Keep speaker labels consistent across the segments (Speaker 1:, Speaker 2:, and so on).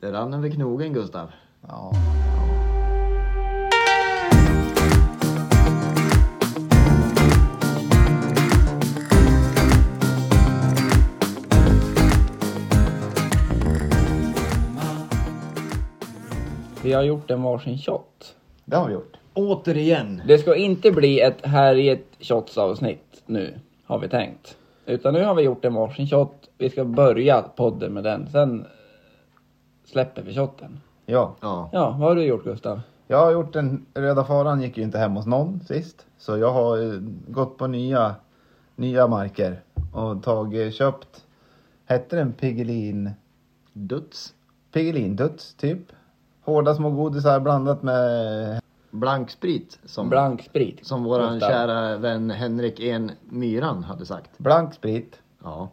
Speaker 1: Det rann över knogen, Gustav.
Speaker 2: Ja.
Speaker 3: Vi har gjort en varsin shot.
Speaker 2: Det har vi gjort.
Speaker 1: Återigen.
Speaker 3: Det ska inte bli ett här i ett shots avsnitt nu, har vi tänkt. Utan nu har vi gjort en varsin shot. Vi ska börja podden med den, sen släpper vi shotten.
Speaker 2: Ja.
Speaker 1: Ja.
Speaker 3: Ja, vad har du gjort Gustav?
Speaker 2: Jag har gjort en... Röda faran gick ju inte hem hos någon sist. Så jag har eh, gått på nya, nya marker och tagit, köpt... Hette den Piggelin...
Speaker 1: Duts.
Speaker 2: Piggelinduts typ? Hårda små godisar blandat med...
Speaker 1: Blanksprit, som,
Speaker 3: Blank sprit.
Speaker 1: som våran
Speaker 3: Gustav.
Speaker 1: kära vän Henrik En Myran hade sagt.
Speaker 2: Blank sprit,
Speaker 1: Ja.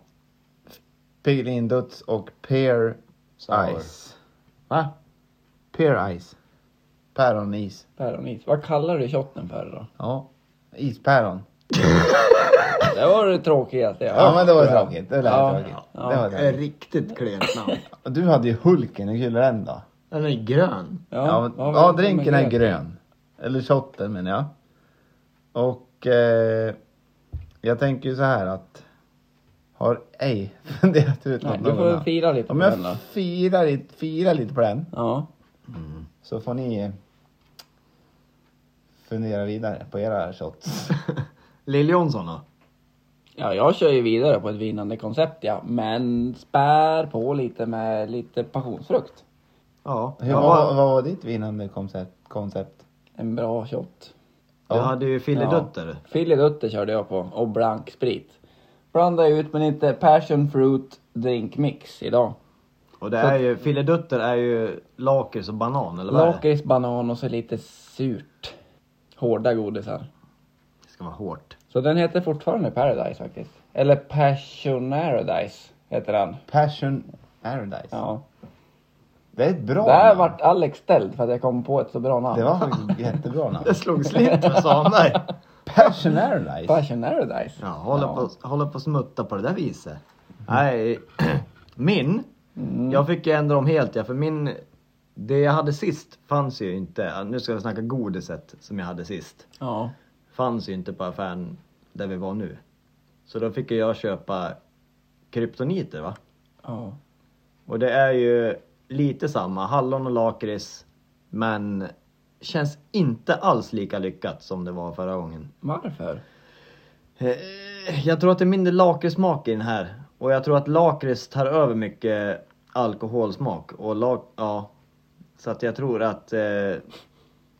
Speaker 2: Piggelinduts och pear
Speaker 1: Sour.
Speaker 2: ice.
Speaker 1: Va?
Speaker 2: Pear ice. Päronis.
Speaker 3: Päronis. Vad kallar du shotten för då?
Speaker 2: Ja. Ispäron.
Speaker 3: Det var det tråkigaste jag
Speaker 2: Ja, men det var
Speaker 3: tror jag.
Speaker 2: tråkigt. Det lät
Speaker 3: Ja.
Speaker 2: tråkigt.
Speaker 3: Ja.
Speaker 2: Det var
Speaker 1: Ett
Speaker 2: tråkigt.
Speaker 1: riktigt klent namn.
Speaker 2: Du hade ju Hulken, hur kul är den då?
Speaker 1: Den är grön.
Speaker 3: Ja,
Speaker 2: Ja,
Speaker 3: vad har vi
Speaker 2: ja,
Speaker 3: gjort
Speaker 2: drinken
Speaker 3: med
Speaker 2: är grön. Eller shotten menar jag. Och eh, jag tänker ju så här att har ej funderat ut
Speaker 3: Nej,
Speaker 2: något
Speaker 3: du
Speaker 2: någon
Speaker 3: får
Speaker 2: annan.
Speaker 3: fira lite på
Speaker 2: Om
Speaker 3: den då.
Speaker 2: jag firar lite, firar lite på den
Speaker 3: Ja.
Speaker 2: så får ni eh, fundera vidare på era shots.
Speaker 1: Lill Jonsson då?
Speaker 3: ja, jag kör ju vidare på ett vinnande koncept ja. Men spär på lite med lite passionsfrukt.
Speaker 1: Ja.
Speaker 2: Hur,
Speaker 1: jag
Speaker 2: vad,
Speaker 1: var,
Speaker 2: vad var ditt vinnande koncept? koncept?
Speaker 3: En bra shot.
Speaker 1: du hade ju filidutter.
Speaker 3: Filidutter körde jag på och blank sprit. Blandade ut men inte passion fruit drink mix idag.
Speaker 1: Och det
Speaker 3: Så
Speaker 1: är
Speaker 3: att-
Speaker 1: ju, filidutter är ju lakrits och banan eller vad är det?
Speaker 3: Lakrits, banan och så lite surt. Hårda godisar.
Speaker 1: Det ska vara hårt.
Speaker 3: Så den heter fortfarande Paradise faktiskt. Eller Passion Paradise heter den.
Speaker 2: Passion Paradise.
Speaker 3: Ja.
Speaker 2: Det är ett bra
Speaker 3: Där
Speaker 2: namn.
Speaker 3: vart Alex ställd för att jag kom på ett så bra namn.
Speaker 2: Det var faktiskt jättebra namn.
Speaker 1: Det slog slint för Svanberg.
Speaker 2: Passion Paradise.
Speaker 3: Passion Paradise.
Speaker 1: Ja, håller, På, håller på att smutta på det där viset. Mm. Nej, min. Jag fick ju ändra om helt ja, för min... Det jag hade sist fanns ju inte. Nu ska vi snacka godiset som jag hade sist.
Speaker 3: Ja.
Speaker 1: Fanns ju inte på affären där vi var nu. Så då fick ju jag köpa kryptoniter va?
Speaker 3: ja.
Speaker 1: Och det är ju lite samma, hallon och lakrits. Men känns inte alls lika lyckat som det var förra gången.
Speaker 3: Varför?
Speaker 1: Eh, Jag tror att det är mindre lakritssmak i den här. Och jag tror att lakrits tar över mycket alkoholsmak. Och lak... Ja. Så att jag tror att... Eh,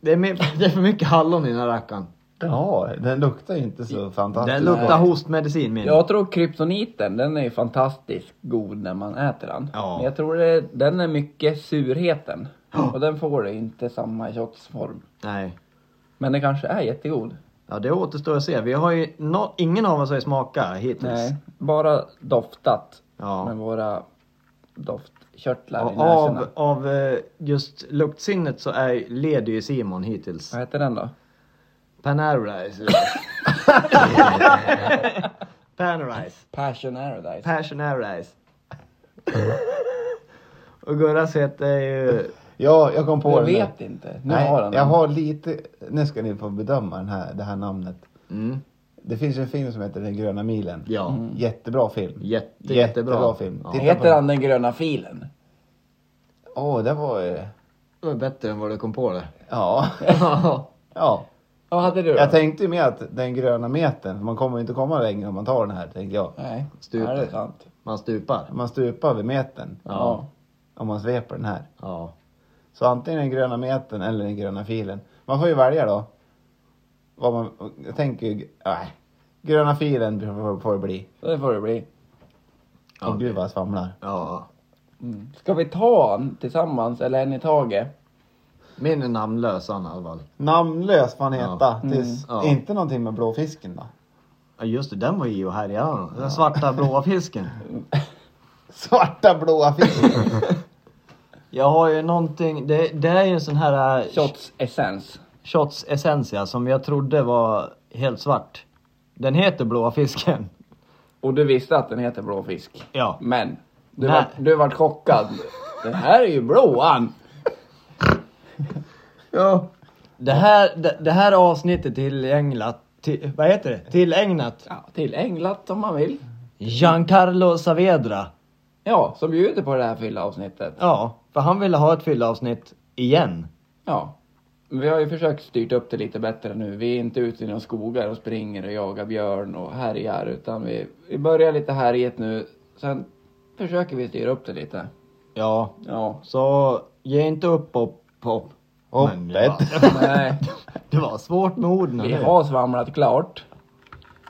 Speaker 1: det, är mer, det är för mycket hallon i den här rackaren.
Speaker 2: Ja, den luktar ju inte så fantastiskt.
Speaker 1: Den luktar hostmedicin min.
Speaker 3: Jag tror kryptoniten, den är ju fantastiskt god när man äter den.
Speaker 1: Ja.
Speaker 3: Men jag tror det, den är mycket surheten. Och den får du inte samma i shotsform.
Speaker 1: Nej.
Speaker 3: Men den kanske är jättegod.
Speaker 1: Ja, det återstår att se. Vi har ju... No, ingen av oss har ju smakat hittills.
Speaker 3: Nej, bara doftat
Speaker 1: Ja.
Speaker 3: med våra doftkörtlar i
Speaker 1: Och
Speaker 3: näsorna.
Speaker 1: av, av eh, just luktsinnet så är, leder ju Simon hittills.
Speaker 3: Vad heter den då?
Speaker 1: Panarize. Panarize.
Speaker 3: Passion Paradise.
Speaker 1: Passionarize. Och Gurras heter ju...
Speaker 2: Ja, jag kom på
Speaker 3: jag
Speaker 2: den nu.
Speaker 3: vet inte. Nu
Speaker 2: Nej,
Speaker 3: har han
Speaker 2: jag
Speaker 3: den.
Speaker 2: har lite... Nu ska ni få bedöma den här, det här namnet.
Speaker 1: Mm,
Speaker 2: Det finns ju en film som heter Den gröna milen.
Speaker 1: ja.
Speaker 2: Jättebra film.
Speaker 1: Mm. Jätte, jättebra.
Speaker 2: Jättebra film.
Speaker 1: Ja.
Speaker 2: Titta på
Speaker 3: Heter
Speaker 2: den.
Speaker 3: han den gröna filen?
Speaker 2: Åh, det var ju...
Speaker 1: Det var bättre än vad du kom på det.
Speaker 2: Ja. ja.
Speaker 3: Vad hade du då?
Speaker 2: Jag tänkte ju med att den gröna metern, för man kommer ju inte komma längre om man tar den här, tänkte jag.
Speaker 3: Nej,
Speaker 1: Stup.
Speaker 3: ja, det är sant.
Speaker 1: Man stupar.
Speaker 2: Man stupar vid metern
Speaker 3: Ja.
Speaker 2: om man sveper den här.
Speaker 1: Ja.
Speaker 2: Så antingen den gröna metern eller den gröna filen. Man får ju välja då. Vad man... Jag tänker ju... Nej. Gröna filen får- får det bli.
Speaker 3: Så det får det bli.
Speaker 1: Ja,
Speaker 2: Åh gud vad jag svamlar.
Speaker 1: ja.
Speaker 3: Ska vi ta en tillsammans eller en i taget?
Speaker 1: Min är namnlös han i alla fall.
Speaker 2: Namnlös får han
Speaker 1: Ja.
Speaker 2: heta. Tills,
Speaker 1: ja.
Speaker 2: Inte någonting med blåfisken då.
Speaker 1: Ja just det, den var ju här ja. Den svarta blåa fisken.
Speaker 2: Svarta blåa fisken.
Speaker 1: Jag har ju någonting, det, det är ju en sån här... eh,
Speaker 3: Shots essens.
Speaker 1: Shots Essentia som jag trodde var helt svart. Den heter Blåa fisken.
Speaker 3: Och du visste att den heter blåfisk?
Speaker 1: Ja.
Speaker 3: Men du
Speaker 1: Nej.
Speaker 3: var, du var chockad Den här är ju blåan!
Speaker 2: Ja.
Speaker 1: Det här, det, det här avsnittet tillägnat... Till, vad heter det? Tillägnat
Speaker 3: Ja, till änglat om man vill.
Speaker 1: Giancarlo Saavedra.
Speaker 3: Ja, som bjuder på det här fylla avsnittet.
Speaker 1: Ja, för han ville ha ett fyllavsnitt igen.
Speaker 3: Ja. Men Vi har ju försökt styrt upp det lite bättre nu. Vi är inte ute i några skogar och springer och jagar björn och härjar utan vi, vi börjar lite härjet nu. Sen försöker vi styra upp det lite.
Speaker 1: Ja,
Speaker 3: Ja.
Speaker 1: så ge inte upp hopp... hopp. Men det
Speaker 2: Hoppet.
Speaker 1: var-
Speaker 3: Nej,
Speaker 1: Det var svårt med orden.
Speaker 3: vi
Speaker 1: eller hur?
Speaker 3: har svamlat klart.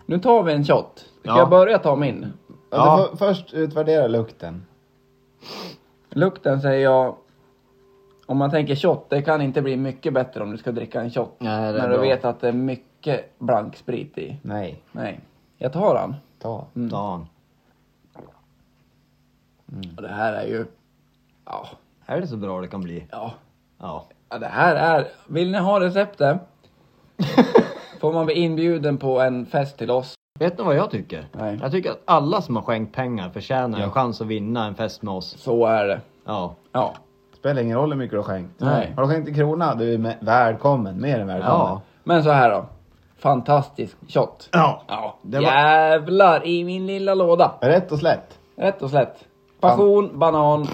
Speaker 3: Nu tar vi en shot. Ska
Speaker 1: Ja.
Speaker 3: jag börja ta min?
Speaker 2: Ja.
Speaker 1: Ja.
Speaker 2: Du får först utvärdera lukten.
Speaker 3: Lukten säger jag, om man tänker shot, det kan inte bli mycket bättre om du ska dricka en shot.
Speaker 1: Nej, det är
Speaker 3: När du
Speaker 1: bra.
Speaker 3: vet att det är mycket blank sprit i.
Speaker 2: Nej.
Speaker 3: Nej, jag tar den.
Speaker 2: Ta.
Speaker 3: Mm.
Speaker 1: Dan.
Speaker 3: Och det här är ju, ja,
Speaker 1: Är det så bra det kan bli?
Speaker 3: ja,
Speaker 1: Ja.
Speaker 3: ja det här är, vill ni ha receptet? Får man bli inbjuden på en fest till oss?
Speaker 1: Vet ni vad jag tycker?
Speaker 3: Nej.
Speaker 1: Jag tycker att alla som har skänkt pengar förtjänar en chans att vinna en fest med oss.
Speaker 3: Så är det.
Speaker 1: Ja.
Speaker 3: Ja,
Speaker 2: Spelar ingen roll hur mycket du har skänkt.
Speaker 3: Nej.
Speaker 2: Har du skänkt en krona, du är med, välkommen. Mer än välkommen.
Speaker 1: Ja.
Speaker 3: men så här då. Fantastisk shot.
Speaker 1: Ja.
Speaker 3: Ja,
Speaker 1: Det var-
Speaker 3: jävlar i min lilla låda.
Speaker 2: Rätt och slätt.
Speaker 3: Rätt och slätt. Passion, banan,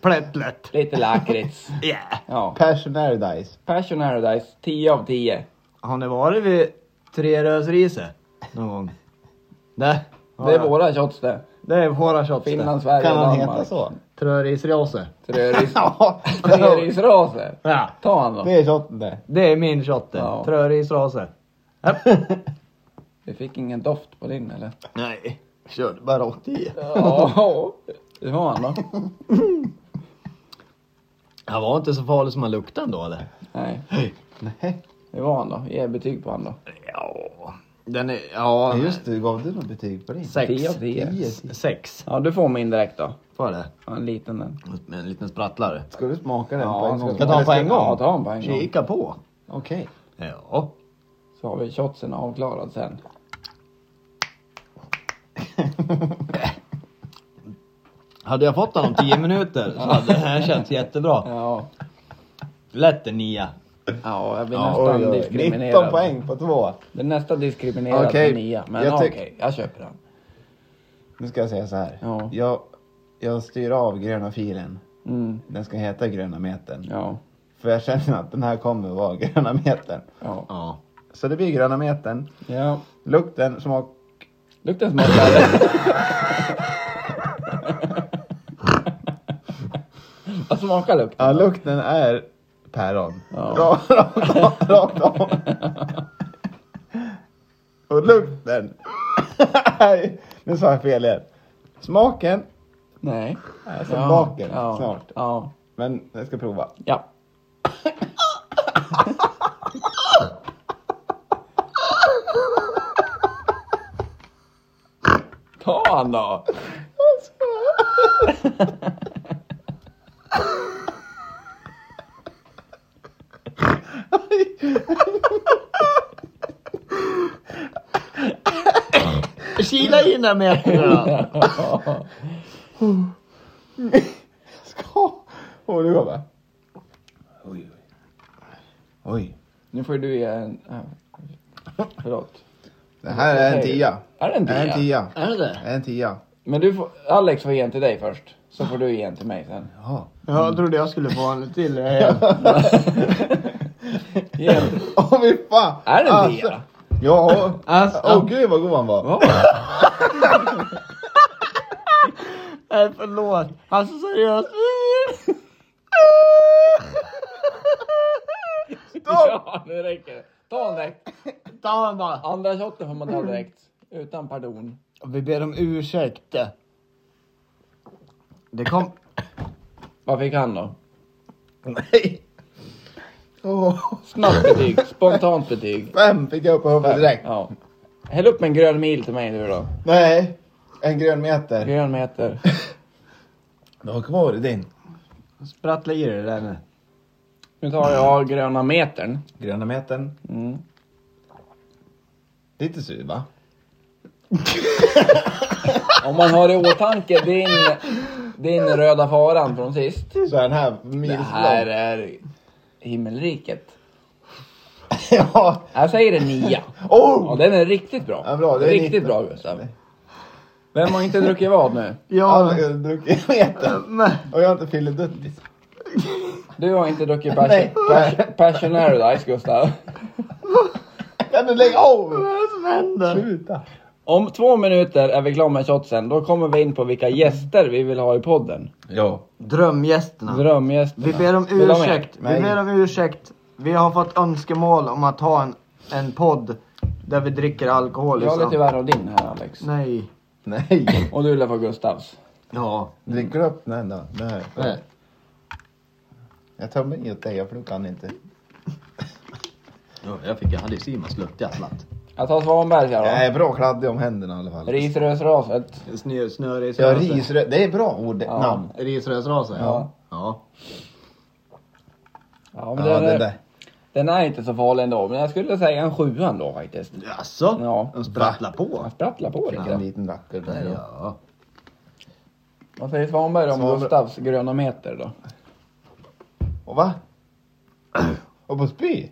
Speaker 1: Plättlätt.
Speaker 3: lite lakrits.
Speaker 1: Yeah.
Speaker 3: Ja.
Speaker 2: Passion Paradise.
Speaker 3: Passion Paradise, 10 av 10.
Speaker 1: Har ni varit vid Tre Rösriset? Någon gång? Nej.
Speaker 3: Det är våra shots det.
Speaker 1: Det är våra shots. det.
Speaker 3: Finland, Sverige,
Speaker 2: Kan han heta
Speaker 3: Danmark.
Speaker 2: så?
Speaker 1: Trörisrase.
Speaker 3: Tröris...
Speaker 2: Ja.
Speaker 3: Trörisrase.
Speaker 1: Ja.
Speaker 3: Ta han då.
Speaker 2: Det är shotten det.
Speaker 1: Det är min shot det.
Speaker 3: Ja.
Speaker 1: Trörisrase.
Speaker 3: Vi fick ingen doft på din eller?
Speaker 1: Nej. Körde bara rakt i.
Speaker 3: Ja. Det var han då.
Speaker 1: Han var inte så farlig som han luktade ändå eller?
Speaker 3: Nej.
Speaker 2: Nej.
Speaker 3: Det var han då. Ge betyg på han då.
Speaker 1: Ja. Den är... Ja.
Speaker 2: Ja, Just det, gav du något betyg på din?
Speaker 1: Sex.
Speaker 3: 10 av 10.
Speaker 1: S- Sex.
Speaker 3: Ja, du får min direkt då.
Speaker 1: Får jag det?
Speaker 3: Ja, en liten den.
Speaker 1: Med en liten sprattlare.
Speaker 2: Ska du smaka den
Speaker 3: Ja,
Speaker 2: på en
Speaker 3: ska
Speaker 2: gång?
Speaker 1: Ska jag ta den på en gång?
Speaker 3: Ja, ta han på en gång.
Speaker 1: Kika på.
Speaker 2: Okej.
Speaker 1: Ja.
Speaker 3: Så har vi shotsen avklarad sen.
Speaker 1: Hade jag fått den om 10 minuter så hade det här känts jättebra.
Speaker 3: Ja.
Speaker 1: Lätt en nia.
Speaker 3: Ja, jag blir
Speaker 1: Ja,
Speaker 3: nästan
Speaker 2: Oj, oj, oj.
Speaker 3: diskriminerad.
Speaker 2: 19 poäng på två.
Speaker 3: Det är nästan diskriminerad
Speaker 2: Okej,
Speaker 3: för nia. Men
Speaker 2: jag
Speaker 3: ja, okej,
Speaker 2: tyck-
Speaker 3: jag köper den.
Speaker 2: Nu ska jag säga så här.
Speaker 3: Ja.
Speaker 2: Jag, jag styr av gröna filen.
Speaker 3: Mm.
Speaker 2: Den ska heta gröna metern.
Speaker 3: Ja,
Speaker 2: För jag känner att den här kommer vara gröna metern.
Speaker 3: ja.
Speaker 1: Ja.
Speaker 2: Så det blir gröna metern.
Speaker 3: ja.
Speaker 2: Lukten, smak.
Speaker 3: Lukten smakar. Vad smakar lukten?
Speaker 2: Ja, lukten är päron.
Speaker 3: Ja.
Speaker 2: Rakt om. Rakt om. Och lukten. Nej, nu sa jag fel igen. Smaken
Speaker 3: Nej.
Speaker 2: är som baken snart.
Speaker 3: Ja.
Speaker 2: Men jag ska prova.
Speaker 3: ja. Ta han då!
Speaker 1: Kila in den meterna.
Speaker 2: Ska. Och du går bara. Oj, oj. Oj.
Speaker 3: Nu får du ge en... äh, Förlåt.
Speaker 2: Det här är en tia.
Speaker 3: Är det en
Speaker 2: Det är en
Speaker 3: tia?
Speaker 2: tia.
Speaker 1: Är det
Speaker 2: Det
Speaker 1: det?
Speaker 2: är en tia.
Speaker 3: Men du får, Alex får ge en till dig först. Så får du ge en till mig sen.
Speaker 2: Ja.
Speaker 1: Jag trodde jag skulle få en till.
Speaker 2: eh,
Speaker 3: Ge en till...
Speaker 2: Åh fy fan.
Speaker 3: Är det en
Speaker 2: Alltså,
Speaker 3: tia?
Speaker 2: Ja.
Speaker 1: Alltså.
Speaker 2: Åh gud vad god han var.
Speaker 3: Vad var det?
Speaker 1: Nej förlåt. Alltså seriöst.
Speaker 3: Ja, nu räcker det. Ta den direkt.
Speaker 1: Ta den bara.
Speaker 3: Andra shotten får man ta direkt. Utan pardon.
Speaker 1: Vi ber om ursäkt. Det kom...
Speaker 3: Vad fick han då?
Speaker 2: Nej. Åh,
Speaker 3: Snabbt betyg. Spontant betyg.
Speaker 2: Fem fick jag upp i huvudet direkt.
Speaker 3: Ja. Häll upp en grön mil till mig nu då.
Speaker 2: Nej. En grön meter.
Speaker 3: Grön meter.
Speaker 2: Du har kvar i din.
Speaker 1: Sprattla i det där nu.
Speaker 3: Nu tar jag gröna metern.
Speaker 2: Gröna metern.
Speaker 3: Mm.
Speaker 2: Lite sur va?
Speaker 3: Om man har i åtanke din Din röda faran från sist.
Speaker 2: Så är den här
Speaker 3: Det här
Speaker 2: milslång.
Speaker 3: är himmelriket.
Speaker 2: ja.
Speaker 3: Jag säger en nia. Ja,
Speaker 2: Oh!
Speaker 3: den är riktigt bra.
Speaker 2: Ja, bra, det är
Speaker 3: riktigt
Speaker 2: lite.
Speaker 3: bra Gustav. Vem har inte druckit vad nu?
Speaker 1: Ja,
Speaker 2: Ja, jag har druckit meter.
Speaker 1: men...
Speaker 2: Och jag har inte filiduttis.
Speaker 3: Du har inte druckit
Speaker 2: Nej.
Speaker 3: passion, passion, passion Paradise Gustav.
Speaker 2: Kan du lägga av?
Speaker 1: Vad är det som händer?
Speaker 2: Sluta.
Speaker 3: Om två minuter är vi klara med shotsen. Då kommer vi in på vilka gäster vi vill ha i podden.
Speaker 2: Ja.
Speaker 1: Drömgästerna.
Speaker 3: Drömgästerna.
Speaker 1: Vi ber om
Speaker 3: Vill du ha med?
Speaker 1: ursäkt. Vi
Speaker 2: Nej.
Speaker 1: ber om ursäkt. Vi har fått önskemål om att ha en, en podd där vi dricker alkohol. i
Speaker 3: Jag håller
Speaker 1: sam-
Speaker 3: tyvärr av din här Alex.
Speaker 1: Nej.
Speaker 2: Nej.
Speaker 3: Och du lär få Gustavs.
Speaker 1: Ja.
Speaker 2: Dricker du upp den då? Nej.
Speaker 1: Nej.
Speaker 2: Jag tömmer inget dig för du kan inte.
Speaker 1: Jag fick, jag hade ju Simons lukt i allt.
Speaker 3: Jag tar Svanberg här då.
Speaker 2: Jag är bra kladdig om händerna i alla fall.
Speaker 3: Risrösraset.
Speaker 1: Snö,
Speaker 2: Ja,
Speaker 1: snöröjsrase.
Speaker 2: risrö... Det är bra ord,
Speaker 3: Ja.
Speaker 2: namn.
Speaker 1: Risröjsrase?
Speaker 3: Ja.
Speaker 1: ja.
Speaker 3: Ja, men
Speaker 2: Ja,
Speaker 3: den,
Speaker 2: det
Speaker 3: är,
Speaker 2: där.
Speaker 3: den är inte så farlig ändå. Men jag skulle säga en sjua ändå faktiskt.
Speaker 1: Jaså?
Speaker 3: Ja.
Speaker 1: De sprattlar på?
Speaker 3: Han sprattlar på lite.
Speaker 2: Vilken liten rackare det är. då.
Speaker 1: Ja.
Speaker 3: Vad säger Svanberg om
Speaker 2: Svanberg.
Speaker 3: Gustavs gröna meter då?
Speaker 2: Och va? Och på spy?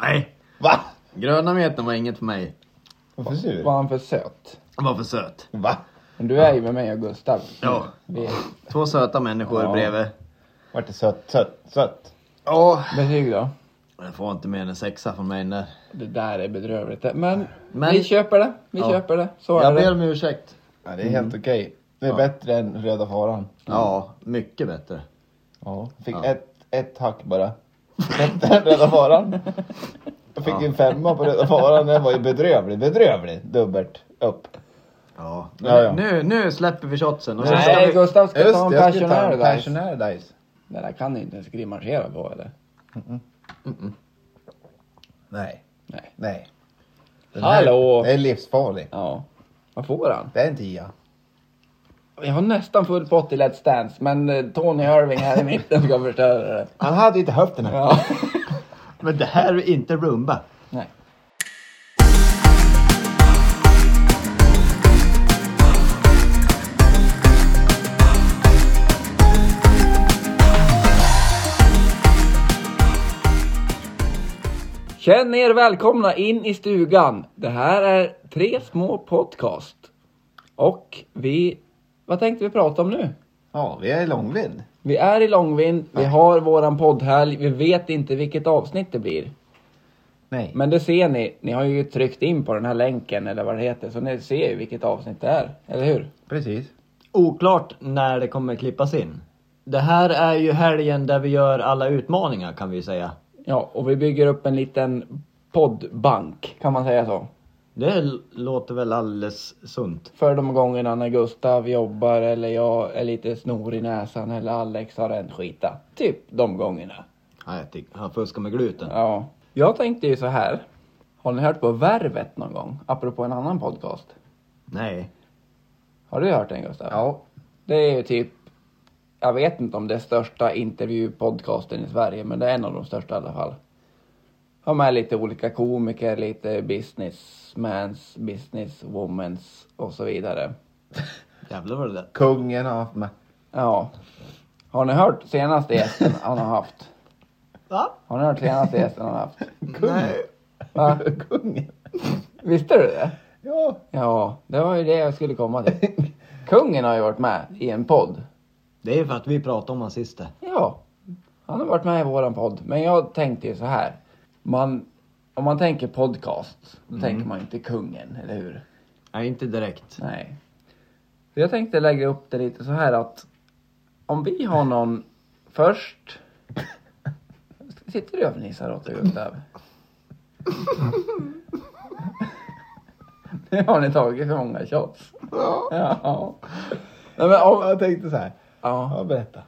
Speaker 1: Nej.
Speaker 2: Va?
Speaker 1: Gröna metern var inget för mig.
Speaker 2: Och frisyr?
Speaker 3: Var han för söt?
Speaker 1: Den var för söt.
Speaker 2: Va?
Speaker 3: Men du är ju med mig och Gustav.
Speaker 1: Ja.
Speaker 3: Vi
Speaker 1: Två söta människor
Speaker 3: Ja.
Speaker 1: bredvid.
Speaker 2: Vart det sött, sött, sött?
Speaker 1: Ja.
Speaker 3: betyg då?
Speaker 1: Jag får inte mer än en sexa från mig där.
Speaker 3: Det där är bedrövligt. Men,
Speaker 1: Men-
Speaker 3: vi köper det. Vi
Speaker 1: Ja.
Speaker 3: köper det. Så
Speaker 1: Jag
Speaker 3: är
Speaker 1: ber
Speaker 3: det.
Speaker 1: om ursäkt.
Speaker 2: Ja, det är helt okej. Det är bättre än röda faran.
Speaker 1: Ja, mycket bättre.
Speaker 2: Ja. Fick
Speaker 1: Ja.
Speaker 2: ett, ett hack bara. Bättre än röda faran. Jag fick en femma på röda faran. Den var ju bedrövlig, bedrövlig. Dubbelt upp.
Speaker 1: Ja.
Speaker 2: Ja, ja.
Speaker 1: Nu, nu släpper vi shotsen. Och så ska
Speaker 3: Nej,
Speaker 1: vi...
Speaker 3: Gustav ska ta
Speaker 2: Just
Speaker 3: en
Speaker 2: det, jag skulle ta
Speaker 3: passionär
Speaker 2: en
Speaker 3: där.
Speaker 2: passionär dice.
Speaker 3: Det där kan du inte ens grimasera på eller?
Speaker 2: Nej.
Speaker 3: Nej.
Speaker 2: Nej.
Speaker 3: Hallå!
Speaker 2: Här, det är livsfarlig.
Speaker 3: Ja. Vad får han?
Speaker 2: Det är en tia.
Speaker 3: Jag har nästan full pott i Let's Dance men eh, Tony Irving här i mitten ska förstöra det.
Speaker 2: Han hade inte höften här.
Speaker 3: Ja.
Speaker 1: Men det här är inte rumba.
Speaker 3: Nej. Känn er välkomna in i stugan. Det här är tre små podcast. Och vi... Vad tänkte vi prata om nu?
Speaker 2: Ja, vi är i långvidd.
Speaker 3: Vi är i långvind, vi har våran poddhelg, vi vet inte vilket avsnitt det blir.
Speaker 2: Nej.
Speaker 3: Men det ser ni, ni har ju tryckt in på den här länken eller vad det heter, så ni ser ju vilket avsnitt det är, eller hur?
Speaker 2: Precis.
Speaker 1: Oklart när det kommer klippas in. Det här är ju helgen där vi gör alla utmaningar kan vi ju säga.
Speaker 3: Ja, och vi bygger upp en liten poddbank, kan man säga så?
Speaker 1: Det l- låter väl alldeles sunt.
Speaker 3: För de gångerna när Gustav jobbar eller jag är lite snor i näsan eller Alex har en skita. Typ de gångerna.
Speaker 1: Ja, jag tycker, han fuskar med gluten.
Speaker 3: Ja. Jag tänkte ju så här. Har ni hört på Värvet någon gång? Apropå en annan podcast.
Speaker 1: Nej.
Speaker 3: Har du hört den Gustav?
Speaker 2: Ja.
Speaker 3: Det är ju typ, jag vet inte om det är största intervjupodcasten i Sverige, men det är en av de största i alla fall. Har med lite olika komiker, lite businessmans, businesswomans och så vidare.
Speaker 1: Jävlar vad det där.
Speaker 2: Kungen har haft med.
Speaker 3: Ja. Har ni hört senaste gästen han har haft?
Speaker 1: Va?
Speaker 3: Har ni hört senaste gästen han har haft?
Speaker 1: Nej.
Speaker 3: Va?
Speaker 2: Kungen?
Speaker 3: Visste du det?
Speaker 2: Ja.
Speaker 3: Ja, det var ju det jag skulle komma till. Kungen har ju varit med i en podd.
Speaker 1: Det är för att vi pratade om honom sist. det.
Speaker 3: Ja, han har varit med i våran podd. Men jag tänkte ju så här. Man, om man tänker podcast, då tänker man ju inte kungen, eller hur?
Speaker 1: Nej, inte direkt.
Speaker 3: Nej. Så jag tänkte lägga upp det lite så här att om vi har någon först. Sitter du och fnissar åt dig Gustav? Nu har ni tagit för många shots. Ja. Nej, men om,
Speaker 2: Jag tänkte så här.
Speaker 3: ja.
Speaker 2: Ja, berätta.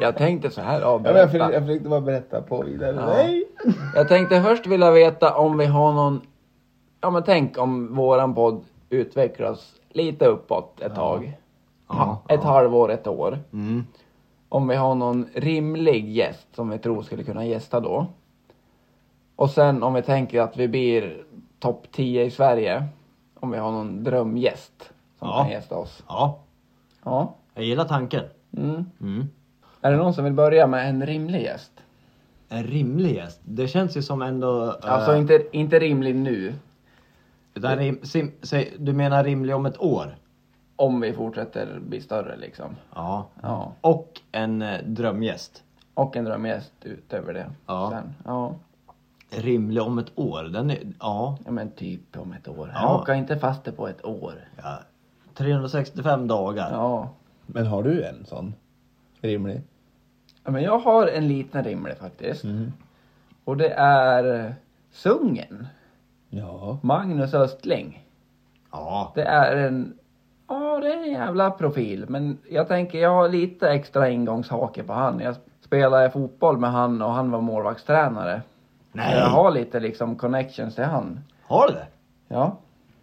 Speaker 3: Jag tänkte så här
Speaker 2: Ja, men jag,
Speaker 3: avbryta.
Speaker 2: försökte, jag försökte bara berätta på vidare.
Speaker 3: Ja.
Speaker 2: Nej.
Speaker 3: Jag tänkte först vilja veta om vi har någon... Ja men tänk om våran podd utvecklas lite uppåt ett tag. Ha, ett halvår, ett år.
Speaker 1: Mm.
Speaker 3: Om vi har någon rimlig gäst som vi tror skulle kunna gästa då. Och sen om vi tänker att vi blir topp 10 i Sverige. Om vi har någon drömgäst som
Speaker 1: Ja.
Speaker 3: kan gästa oss.
Speaker 1: Ja,
Speaker 3: Ja.
Speaker 1: jag gillar tanken.
Speaker 3: Mm.
Speaker 1: Mm.
Speaker 3: Är det någon som vill börja med en rimlig gäst?
Speaker 1: En rimlig gäst. Det känns ju som ändå... eh,
Speaker 3: Alltså inte, inte rimlig nu,
Speaker 1: utan rim, sim, säg, du menar rimlig om ett år?
Speaker 3: om vi fortsätter bli större liksom.
Speaker 1: Ja.
Speaker 3: Ja.
Speaker 1: Och en eh, drömgäst.
Speaker 3: Och en drömgäst utöver det.
Speaker 1: Ja.
Speaker 3: Sen. ja.
Speaker 1: Rimlig om ett år, den är... Ja.
Speaker 3: Ja men typ om ett år.
Speaker 1: Ja.
Speaker 3: Jag hakar inte fast det på ett år.
Speaker 1: ja 365 dagar.
Speaker 3: Ja.
Speaker 2: Men har du en sån? Rimlig?
Speaker 3: ja. Men jag har en liten rimlig faktiskt.
Speaker 1: Mm.
Speaker 3: Och det är eh, Sungen.
Speaker 2: Ja.
Speaker 3: Magnus Östling.
Speaker 1: Ja.
Speaker 3: Det är en... Ja, det är en jävla profil. Men jag tänker, jag har lite extra ingångshake på han. Jag spelade fotboll med han och han var målvaktstränare.
Speaker 1: Nej.
Speaker 3: Jag har lite liksom connections till han.
Speaker 1: Har du det?
Speaker 3: Ja,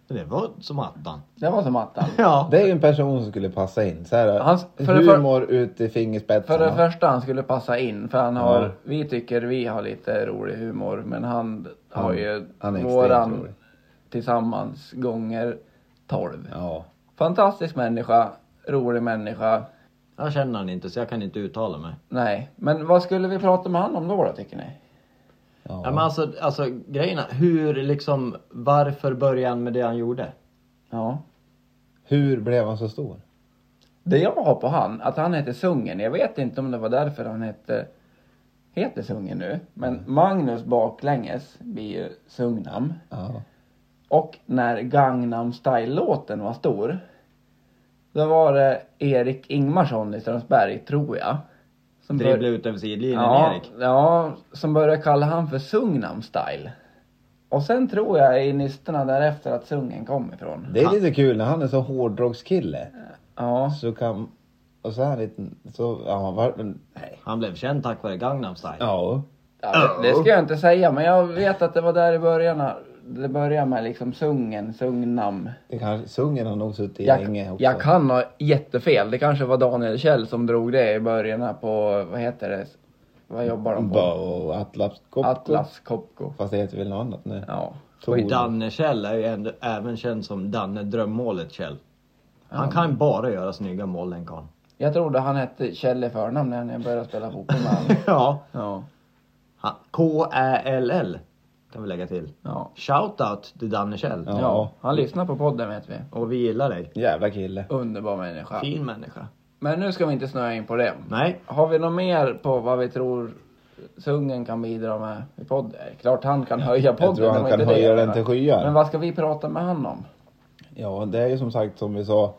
Speaker 1: Det var som attan.
Speaker 3: det var som attan.
Speaker 1: Ja.
Speaker 2: Det är ju en person som skulle passa in. Så här,
Speaker 3: Hans- för det för-
Speaker 2: humor ut i
Speaker 3: För
Speaker 2: fingerspetsarna.
Speaker 3: det första han skulle passa in, för han har,
Speaker 2: Ja.
Speaker 3: vi tycker vi har lite rolig humor, men han har
Speaker 2: Han-
Speaker 3: ju
Speaker 2: han är extremt
Speaker 3: våran
Speaker 2: rolig.
Speaker 3: tillsammans gånger 12.
Speaker 2: Ja.
Speaker 3: Fantastisk människa, rolig människa.
Speaker 1: Jag känner han inte så jag kan inte uttala mig.
Speaker 3: Nej, men vad skulle vi prata med han om då, då tycker ni?
Speaker 2: Ja.
Speaker 1: Ja, men alltså, alltså grejerna, hur liksom, varför började han med det han gjorde?
Speaker 3: Ja.
Speaker 2: Hur blev han så stor?
Speaker 3: Det jag har på han, att han heter Sungen, jag vet inte om det var därför han hette, heter Sungen nu, men
Speaker 2: Mm.
Speaker 3: Magnus baklänges blir ju Sungnam.
Speaker 2: Ja.
Speaker 3: Och när Gangnam Style-låten var stor, då var det Erik Ingmarsson i Strömsberg, tror jag. Som bör-
Speaker 1: Dribbla ut över sidlinjen,
Speaker 3: ja,
Speaker 1: Erik.
Speaker 3: ja, som började kalla han för Sungnam Style. Och sen tror jag i nysterna därefter att Sungen kom ifrån.
Speaker 2: Det är lite kul när han är så hårdrockskille.
Speaker 3: Ja,
Speaker 2: Så kan... Och så är han liten... Så, ja, var, men, nej.
Speaker 1: Han blev känd tack vare Gangnam style.
Speaker 2: Ja.
Speaker 3: ja det, det ska jag inte säga, men jag vet att det var där i början. Det började med liksom Sungen, Sungnam.
Speaker 2: Det kanske, sungen har nog suttit i länge
Speaker 3: Jag,
Speaker 2: också.
Speaker 3: jag kan ha jättefel. Det kanske var Daniel Kjell som drog det i början här på, vad heter det? Vad jobbar de på?
Speaker 2: Bo, Atlas Copco.
Speaker 3: Atlas Copco.
Speaker 2: Fast det heter väl något annat nu?
Speaker 3: Ja.
Speaker 2: Tor.
Speaker 1: Danne Kjell är ju ändå, även känd som Danne Drömmålet Kjell. Han kan bara göra snygga mål den karln.
Speaker 3: Jag trodde han hette Kjell i förnamn när jag började spela fotboll med honom.
Speaker 1: Ja.
Speaker 3: Ja.
Speaker 1: Han- K-Ä-L-L kan vi lägga till.
Speaker 3: Ja.
Speaker 1: Shoutout till Danne Kjell.
Speaker 2: Ja.
Speaker 3: ja. Han lyssnar på podden vet vi.
Speaker 1: Och vi gillar dig.
Speaker 2: Jävla kille.
Speaker 3: Underbar människa.
Speaker 1: Fin människa.
Speaker 3: Men nu ska vi inte snöa in på det.
Speaker 1: Nej.
Speaker 3: Har vi något mer på vad vi tror Sungen kan bidra med i podden? Klart han kan höja podden.
Speaker 2: tror han
Speaker 3: det var
Speaker 2: kan
Speaker 3: inte det
Speaker 2: höja
Speaker 3: jag
Speaker 2: den
Speaker 3: menar.
Speaker 2: till skyar.
Speaker 3: Men vad ska vi prata med han om?
Speaker 2: Ja, det är ju som sagt som vi sa.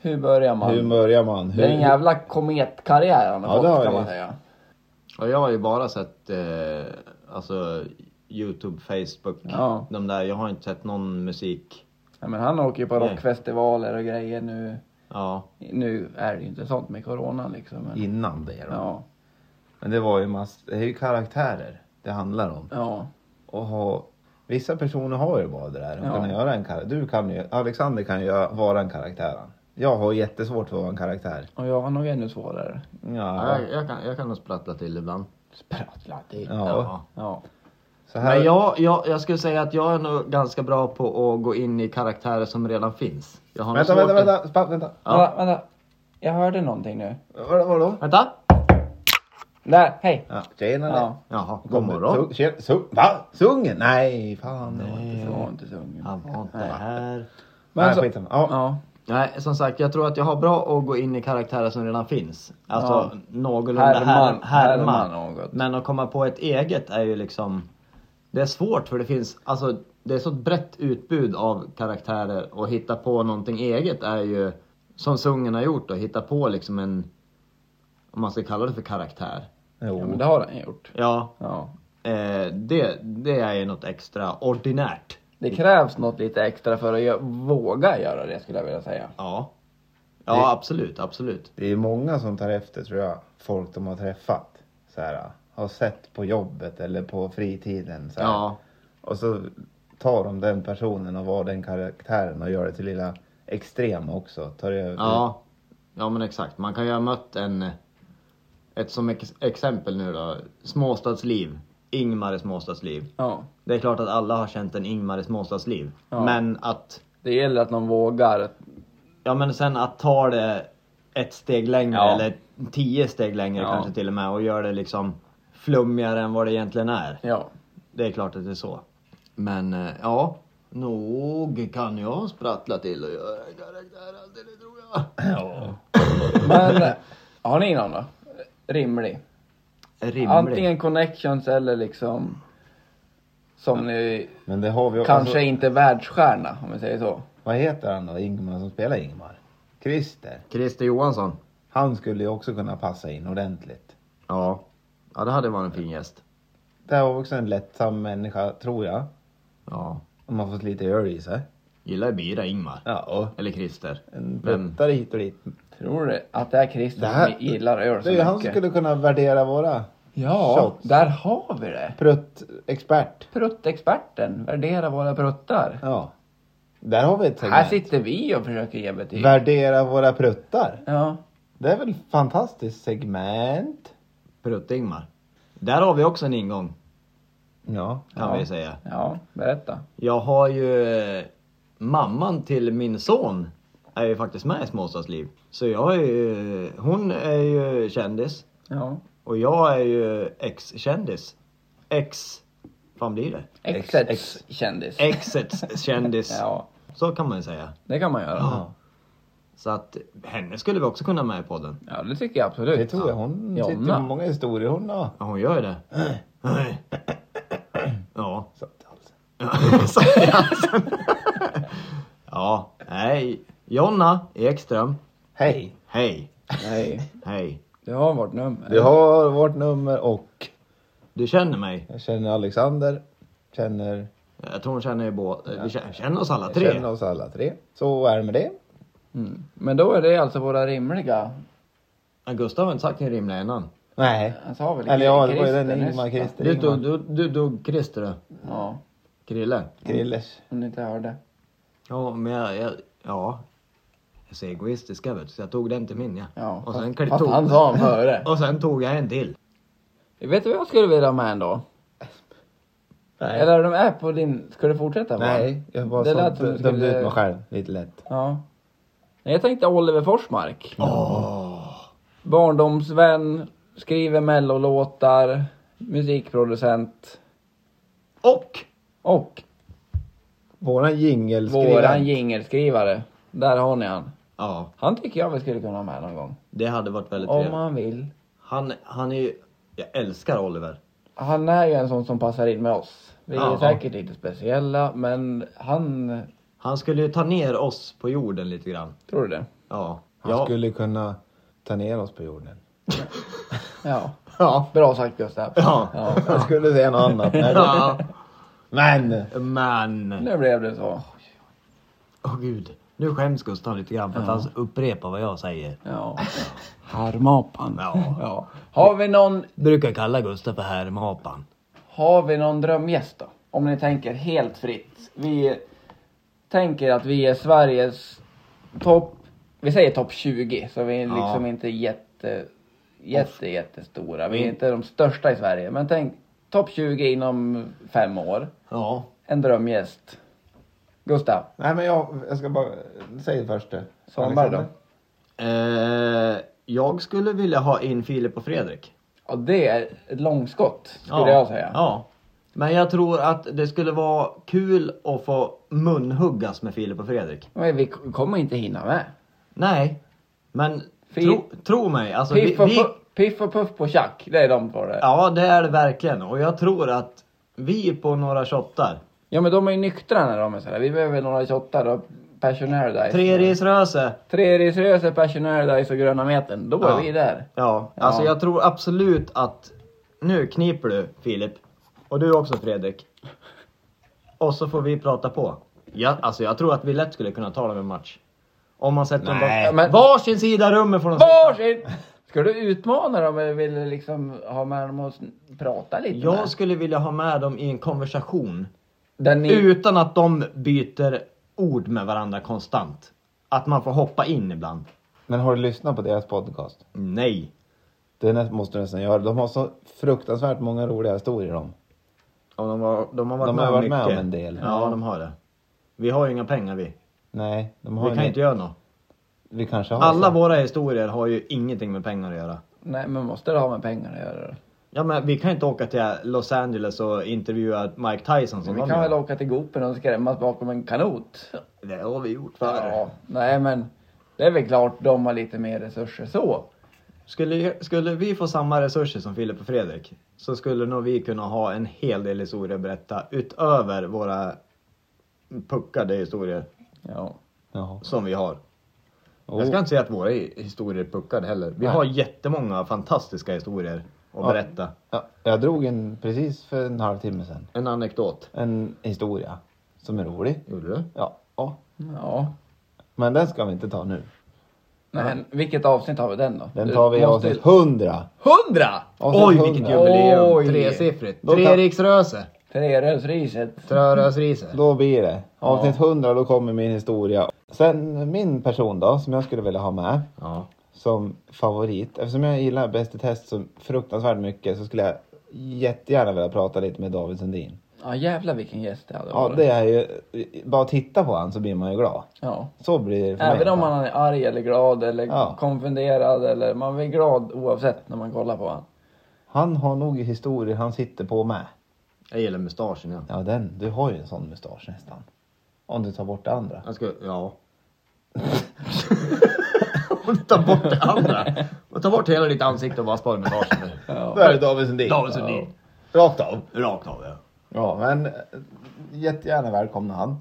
Speaker 3: Hur börjar man?
Speaker 2: Hur börjar man? Hur,
Speaker 3: Det är en jävla kometkarriär han har
Speaker 2: Ja, det
Speaker 3: fått
Speaker 2: har
Speaker 3: kan
Speaker 2: det.
Speaker 3: man säga.
Speaker 1: Och jag har ju bara sett eh, alltså, Youtube, Facebook,
Speaker 3: Ja.
Speaker 1: de där. Jag har inte sett någon musik.
Speaker 3: Ja, men han åker ju på
Speaker 2: Mm.
Speaker 1: Nej.
Speaker 3: rockfestivaler och grejer nu.
Speaker 1: Ja.
Speaker 3: Nu är det ju inte sånt med corona liksom. Men,
Speaker 2: Innan det då.
Speaker 3: ja,
Speaker 2: Men det var ju mass... Det är ju karaktärer det handlar om.
Speaker 3: ja,
Speaker 2: Och ha... Vissa personer har ju bara det där. De
Speaker 3: Ja.
Speaker 2: kan göra en karaktär. Du kan ju... Alexander kan ju göra- vara en karaktär. han. Jag har jättesvårt för att vara en karaktär.
Speaker 3: och jag har nog ännu svårare.
Speaker 2: Ja.
Speaker 1: Jag, jag, kan, jag kan nog sprattla till ibland.
Speaker 3: Sprattla till. Ja.
Speaker 2: ja. Så här...
Speaker 1: Men jag, jag, jag skulle säga att jag är nog ganska bra på att gå in i karaktärer som redan finns. Jag har nog
Speaker 2: Vänta,
Speaker 1: svårt
Speaker 2: vänta,
Speaker 1: att-
Speaker 2: vänta. Spa, vänta.
Speaker 1: Ja.
Speaker 3: Vänta, vänta. Jag hörde någonting nu.
Speaker 2: Vadå? vadå?
Speaker 1: Vänta!
Speaker 3: Där, hej!
Speaker 2: Ja. Tjenare.
Speaker 3: Ja.
Speaker 1: Jaha, god morgon.
Speaker 2: Sung- tje- sung- Va? Sungen? Nej, fan. Det var inte
Speaker 3: Det var inte Sungen.
Speaker 1: Han var inte här.
Speaker 2: Men
Speaker 3: så-
Speaker 2: så... skitsamma. Ja.
Speaker 3: Ja.
Speaker 1: Nej, som sagt, jag tror att jag har bra att gå in i karaktärer som redan finns. Alltså,
Speaker 3: Ja.
Speaker 1: någorlunda
Speaker 3: Härma-
Speaker 1: härma. härma.
Speaker 3: härma något.
Speaker 1: Men att komma på ett eget är ju liksom... Det är svårt för det finns, alltså det är så ett brett utbud av karaktärer och hitta på någonting eget är ju, som Sungen har gjort då, hitta på liksom en, om man ska kalla det för karaktär.
Speaker 2: Jo.
Speaker 3: ja, men det har han gjort.
Speaker 1: Ja,
Speaker 3: Ja.
Speaker 1: eh, det, det är ju något extraordinärt.
Speaker 3: Det krävs något lite extra för att gö- våga göra det skulle jag vilja säga.
Speaker 1: Ja. Ja,
Speaker 2: Det-
Speaker 1: absolut, absolut.
Speaker 2: Det är många som tar efter tror jag, folk de har träffat. Så här, har sett på jobbet eller på fritiden. Så här.
Speaker 1: Ja.
Speaker 2: Och så tar de den personen och var den karaktären och gör det till lilla extrema också. Tar det,
Speaker 1: Ja, ja men exakt. Man kan ju ha mött en... Ett som ex- exempel nu då. Småstadsliv. Ingmar i Småstadsliv.
Speaker 3: Ja.
Speaker 1: Det är klart att alla har känt en Ingmar i Småstadsliv.
Speaker 3: Ja.
Speaker 1: Men att...
Speaker 3: Det gäller att någon vågar
Speaker 1: Ja men sen att ta det ett steg längre
Speaker 3: Ja.
Speaker 1: eller tio steg längre
Speaker 3: Ja.
Speaker 1: kanske till och med och göra det liksom flummigare än vad det egentligen är.
Speaker 3: Ja.
Speaker 1: Det är klart att det är så. Men eh, ja, nog kan jag sprattla till och göra en karaktär alltid, det tror jag.
Speaker 2: Ja.
Speaker 3: Men eh, har ni någon då? Rimlig.
Speaker 1: Rimlig.
Speaker 3: Antingen connections eller liksom som ni
Speaker 2: Men det har vi också.
Speaker 3: kanske inte är världsstjärna om vi säger så.
Speaker 2: vad heter han då, Ingmar som spelar Ingmar? Christer.
Speaker 1: Christer Johansson.
Speaker 2: Han skulle ju också kunna passa in ordentligt.
Speaker 1: Ja. Ja det hade varit en fin gäst.
Speaker 2: Det här var också en lättsam människa, tror jag.
Speaker 1: Ja.
Speaker 2: Om man fått lite öl i sig.
Speaker 1: Gillar bira Ingmar.
Speaker 2: Ja, och
Speaker 1: Eller Christer.
Speaker 3: Mm.
Speaker 2: en
Speaker 1: Men-
Speaker 2: pluttare hit och dit.
Speaker 3: Tror du att det är Christer
Speaker 2: Det här-
Speaker 3: som gillar öl
Speaker 2: Det
Speaker 3: så
Speaker 2: är ju
Speaker 3: mycket?
Speaker 2: han som skulle kunna värdera våra
Speaker 3: Ja,
Speaker 2: Shots.
Speaker 3: där har vi det.
Speaker 2: pruttexpert.
Speaker 3: Pruttexperten, värdera våra pruttar.
Speaker 2: Ja. Där har vi ett
Speaker 3: Här
Speaker 2: segment.
Speaker 3: sitter vi och försöker ge betyg.
Speaker 2: Värdera våra pruttar.
Speaker 3: Ja.
Speaker 2: Det är väl ett fantastiskt segment?
Speaker 1: Prutt-Ingmar. Där har vi också en ingång
Speaker 2: Ja.
Speaker 1: kan
Speaker 3: Ja.
Speaker 1: vi säga.
Speaker 3: ja, berätta.
Speaker 1: Jag har ju... eh, Mamman till min son är ju faktiskt med i Småstadsliv. Så jag är ju... eh, Hon är ju kändis.
Speaker 3: Ja.
Speaker 1: Och jag är ju ex-kändis. Ex... Fan blir det?
Speaker 3: Exets kändis.
Speaker 1: Exets kändis.
Speaker 3: Ja,
Speaker 1: Så kan man ju säga.
Speaker 3: det kan man göra.
Speaker 1: Ja. Så att henne skulle vi också kunna ha med i podden.
Speaker 3: Ja, det tycker jag
Speaker 2: Det
Speaker 3: absolut.
Speaker 2: tror jag. Hon
Speaker 3: Ja,
Speaker 2: sitter
Speaker 3: men.
Speaker 2: med många historier hon har.
Speaker 1: Ja, hon gör ju det. Ja.
Speaker 2: Satt i halsen.
Speaker 1: Satt i halsen. Ja, nej. Jonna Ekström.
Speaker 2: Hej!
Speaker 1: Hej.
Speaker 3: Nej,
Speaker 1: Hej.
Speaker 3: du har vårt nummer.
Speaker 2: Du har vårt nummer och
Speaker 1: Du känner mig.
Speaker 2: jag känner Alexander. Känner,
Speaker 1: Jag tror hon känner er båda. Vi kä- känner oss alla
Speaker 2: jag
Speaker 1: tre.
Speaker 2: känner oss alla tre. Så är det med det.
Speaker 3: Mm. Men då är det alltså våra rimliga.
Speaker 1: Ja, Gustav har inte sagt din rimliga innan.
Speaker 2: Nej.
Speaker 3: Han sa väl
Speaker 2: Eller ja, det var ju
Speaker 3: Christer
Speaker 2: den
Speaker 3: nyss,
Speaker 2: Ingmar
Speaker 3: va?
Speaker 2: Christer.
Speaker 1: Du
Speaker 2: Ingmar.
Speaker 1: tog, du, du tog Christer du.
Speaker 3: Ja,
Speaker 1: Krille.
Speaker 2: Krillers.
Speaker 3: om ni inte hörde.
Speaker 1: Ja, men jag... jag ja. Jag är så egoistisk jag vet, så jag tog den till min ja.
Speaker 3: Ja,
Speaker 1: och,
Speaker 3: fast-
Speaker 1: sen klipp-
Speaker 3: fast
Speaker 1: tog,
Speaker 3: han sa han före.
Speaker 1: och sen tog jag en till.
Speaker 3: Vet du vad jag skulle vilja ha med ändå?
Speaker 2: Nej.
Speaker 3: Eller är de är på din... Ska du fortsätta? va?
Speaker 2: Nej, jag bara
Speaker 3: Det
Speaker 2: så
Speaker 3: lät som du
Speaker 2: dö- dömde
Speaker 3: skulle-
Speaker 2: ut mig själv lite lätt.
Speaker 3: Ja. Nej, Jag tänkte Oliver Forsmark.
Speaker 1: Åh.
Speaker 3: Barndomsvän, skriver mellolåtar, musikproducent
Speaker 1: Och
Speaker 3: och
Speaker 2: Våran jingelskrivare.
Speaker 3: våran jingelskrivare. Där har ni han.
Speaker 1: Ja,
Speaker 3: Han tycker jag vi skulle kunna ha med någon gång.
Speaker 1: det hade varit väldigt
Speaker 3: Om
Speaker 1: trevligt.
Speaker 3: han vill.
Speaker 1: Han, han är ju... Jag älskar Oliver.
Speaker 3: Han är ju en sån som passar in med oss. Vi är
Speaker 1: Ja.
Speaker 3: säkert lite speciella men han...
Speaker 1: Han skulle ju ta ner oss på jorden lite grann.
Speaker 3: Tror du det?
Speaker 1: Ja.
Speaker 2: Han
Speaker 1: ja.
Speaker 2: skulle kunna ta ner oss på jorden.
Speaker 3: Ja.
Speaker 1: Ja.
Speaker 3: Bra sagt Gustav.
Speaker 1: Ja.
Speaker 2: Jag skulle säga något annat. men-
Speaker 1: ja.
Speaker 2: Men!
Speaker 1: Men.
Speaker 3: Nu blev det så.
Speaker 1: Åh gud. Nu skäms Gustav lite grann för att han upprepar vad jag säger.
Speaker 3: Ja. Harmapan.
Speaker 1: Ja.
Speaker 3: ja. Har vi någon
Speaker 1: Brukar kalla Gustav för härmapan.
Speaker 3: Har vi någon drömgäst då? Om ni tänker helt fritt. Vi tänker att vi är Sveriges topp, vi säger topp 20, så vi är
Speaker 1: Ja.
Speaker 3: liksom inte jätte, jätte, jättestora. Vi är
Speaker 1: Mm.
Speaker 3: inte de största i Sverige, men tänk topp 20 inom fem år.
Speaker 1: Ja.
Speaker 3: En drömgäst. Gustav,
Speaker 2: Nej men jag, jag ska bara, säg först du.
Speaker 3: Svanberg då?
Speaker 2: Alexander.
Speaker 1: Eh, jag skulle vilja ha in Filip och Fredrik.
Speaker 3: Ja, det är ett långskott skulle
Speaker 1: Ja.
Speaker 3: jag säga.
Speaker 1: Ja. Men jag tror att det skulle vara kul att få munhuggas med Filip och Fredrik.
Speaker 3: Men vi k- kommer inte hinna med.
Speaker 1: Nej. Men
Speaker 3: Fi-
Speaker 1: tro, tro mig. Alltså, vi,
Speaker 3: Piff och,
Speaker 1: vi,
Speaker 3: pu- piff och Puff på Tjack, det är de två det.
Speaker 1: ja, det är det verkligen. Och jag tror att vi på några shottar.
Speaker 3: Ja men de är ju nyktra när de är sådär. Vi behöver några shottar och Passion Paradise.
Speaker 1: Tre risröse.
Speaker 3: Trerisröse, Passion Paradise och Gröna Metern. Då är
Speaker 1: Ja.
Speaker 3: vi där.
Speaker 1: Ja, alltså
Speaker 3: Ja.
Speaker 1: jag tror absolut att... Nu kniper du Filip. Och du också Fredrik. Och så får vi prata på. Ja, alltså jag tror att vi lätt skulle kunna ta dem en match. Om man sätter
Speaker 2: Nej.
Speaker 1: dem på
Speaker 3: Men-
Speaker 1: varsin sida av rummet får de sitta.
Speaker 3: Varsin! Ska du utmana dem eller vill du liksom ha med dem och s- prata lite?
Speaker 1: Jag
Speaker 3: med?
Speaker 1: skulle vilja ha med dem i en konversation.
Speaker 3: Där ni...
Speaker 1: Utan att de byter ord med varandra konstant. Att man får hoppa in ibland.
Speaker 2: Men har du lyssnat på deras podcast?
Speaker 1: Nej.
Speaker 2: Det nä- måste du nästan göra. De har så fruktansvärt många roliga historier om.
Speaker 1: Och de, var, de har varit,
Speaker 2: De
Speaker 1: med,
Speaker 2: har
Speaker 1: om
Speaker 2: varit med
Speaker 1: mycket.
Speaker 2: om en del.
Speaker 1: Ja, de har det. Vi har ju inga pengar vi.
Speaker 2: Nej, de
Speaker 1: Vi
Speaker 2: har
Speaker 1: kan
Speaker 2: en-
Speaker 1: inte göra något.
Speaker 2: Vi kanske har
Speaker 1: Alla
Speaker 2: så.
Speaker 1: våra historier har ju ingenting med pengar att göra.
Speaker 3: Nej, men måste det ha med pengar att göra då?
Speaker 1: Ja men vi kan ju inte åka till Los Angeles och intervjua Mike Tyson som
Speaker 3: Vi
Speaker 1: de
Speaker 3: kan
Speaker 1: gör.
Speaker 3: väl åka till Gopen och skrämmas bakom en kanot?
Speaker 1: Det har vi gjort förr.
Speaker 3: Ja, nej men det är väl klart de har lite mer resurser så.
Speaker 1: Skulle, skulle vi få samma resurser som Filip och Fredrik så skulle nog vi kunna ha en hel del historier att berätta utöver våra puckade historier
Speaker 3: Ja.
Speaker 2: Jaha.
Speaker 1: som vi har.
Speaker 2: Oh.
Speaker 1: Jag ska inte säga att våra historier är puckade heller. Vi
Speaker 3: Nej.
Speaker 1: har jättemånga fantastiska historier att
Speaker 2: Ja.
Speaker 1: berätta.
Speaker 2: ja, jag drog en precis för en halvtimme sedan.
Speaker 1: En anekdot.
Speaker 2: En historia som är rolig.
Speaker 1: Gjorde du?
Speaker 2: Ja. ja.
Speaker 3: Ja.
Speaker 2: Men den ska vi inte ta nu.
Speaker 3: Nej, men vilket avsnitt har vi den då?
Speaker 2: Den tar vi i
Speaker 3: Du
Speaker 2: avsnitt
Speaker 3: måste-
Speaker 2: 100.
Speaker 3: Hundra!
Speaker 2: Avsnitt
Speaker 1: Oj
Speaker 2: 100.
Speaker 1: vilket jubileum!
Speaker 3: Oj.
Speaker 1: Tresiffrigt.
Speaker 2: Då kan-
Speaker 1: Treriksröse.
Speaker 3: Trerövsriset.
Speaker 1: Trörösrise.
Speaker 2: Då blir det. Avsnitt 100, då kommer min historia. Sen min person då, som jag skulle vilja ha med
Speaker 1: Ja.
Speaker 2: som favorit. Eftersom jag gillar Bäst i test så fruktansvärt mycket så skulle jag jättegärna vilja prata lite med David Sundin.
Speaker 3: Ja jävlar vilken gäst det hade
Speaker 2: Ja,
Speaker 3: varit.
Speaker 2: det är ju... Bara titta på han så blir man ju glad.
Speaker 3: Ja.
Speaker 2: Så blir det för
Speaker 3: Även
Speaker 2: mig.
Speaker 3: om man är arg eller glad eller
Speaker 2: Ja.
Speaker 3: konfunderad eller man blir glad oavsett när man kollar på honom.
Speaker 2: Han har nog historier han sitter på med.
Speaker 1: Jag gillar mustaschen ja.
Speaker 2: Ja, den. Du har ju en sån mustasch nästan. Om du tar bort det andra.
Speaker 1: Jag ska, ja. Och ta bort det andra. Och ta bort hela ditt ansikte och bara spara mustaschen nu.
Speaker 2: Då är det David Sundin.
Speaker 1: David Sundin.
Speaker 2: Rakt av.
Speaker 1: Rakt av ja.
Speaker 2: Ja, men eh, jättegärna välkomna han.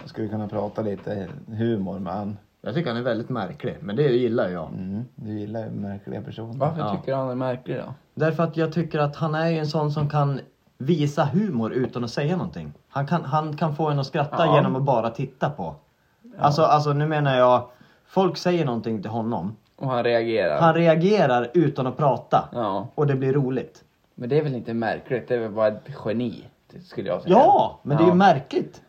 Speaker 2: Jag skulle kunna prata lite humor med han.
Speaker 1: Jag tycker han är väldigt märklig, men det gillar jag.
Speaker 2: Mm, du gillar ju märkliga personer.
Speaker 3: Varför
Speaker 1: Ja.
Speaker 3: tycker du han är märklig då?
Speaker 1: Därför att jag tycker att han är ju en sån som kan visa humor utan att säga någonting. Han kan, han kan få en att skratta
Speaker 3: Ja.
Speaker 1: genom att bara titta på. Alltså, alltså nu menar jag, folk säger någonting till honom.
Speaker 3: Och han reagerar.
Speaker 1: Han reagerar utan att prata.
Speaker 3: Ja.
Speaker 1: Och det blir roligt.
Speaker 3: Men det är väl inte märkligt, det är väl bara ett geni. det Skulle jag säga.
Speaker 1: Ja! Men det är ju märkligt.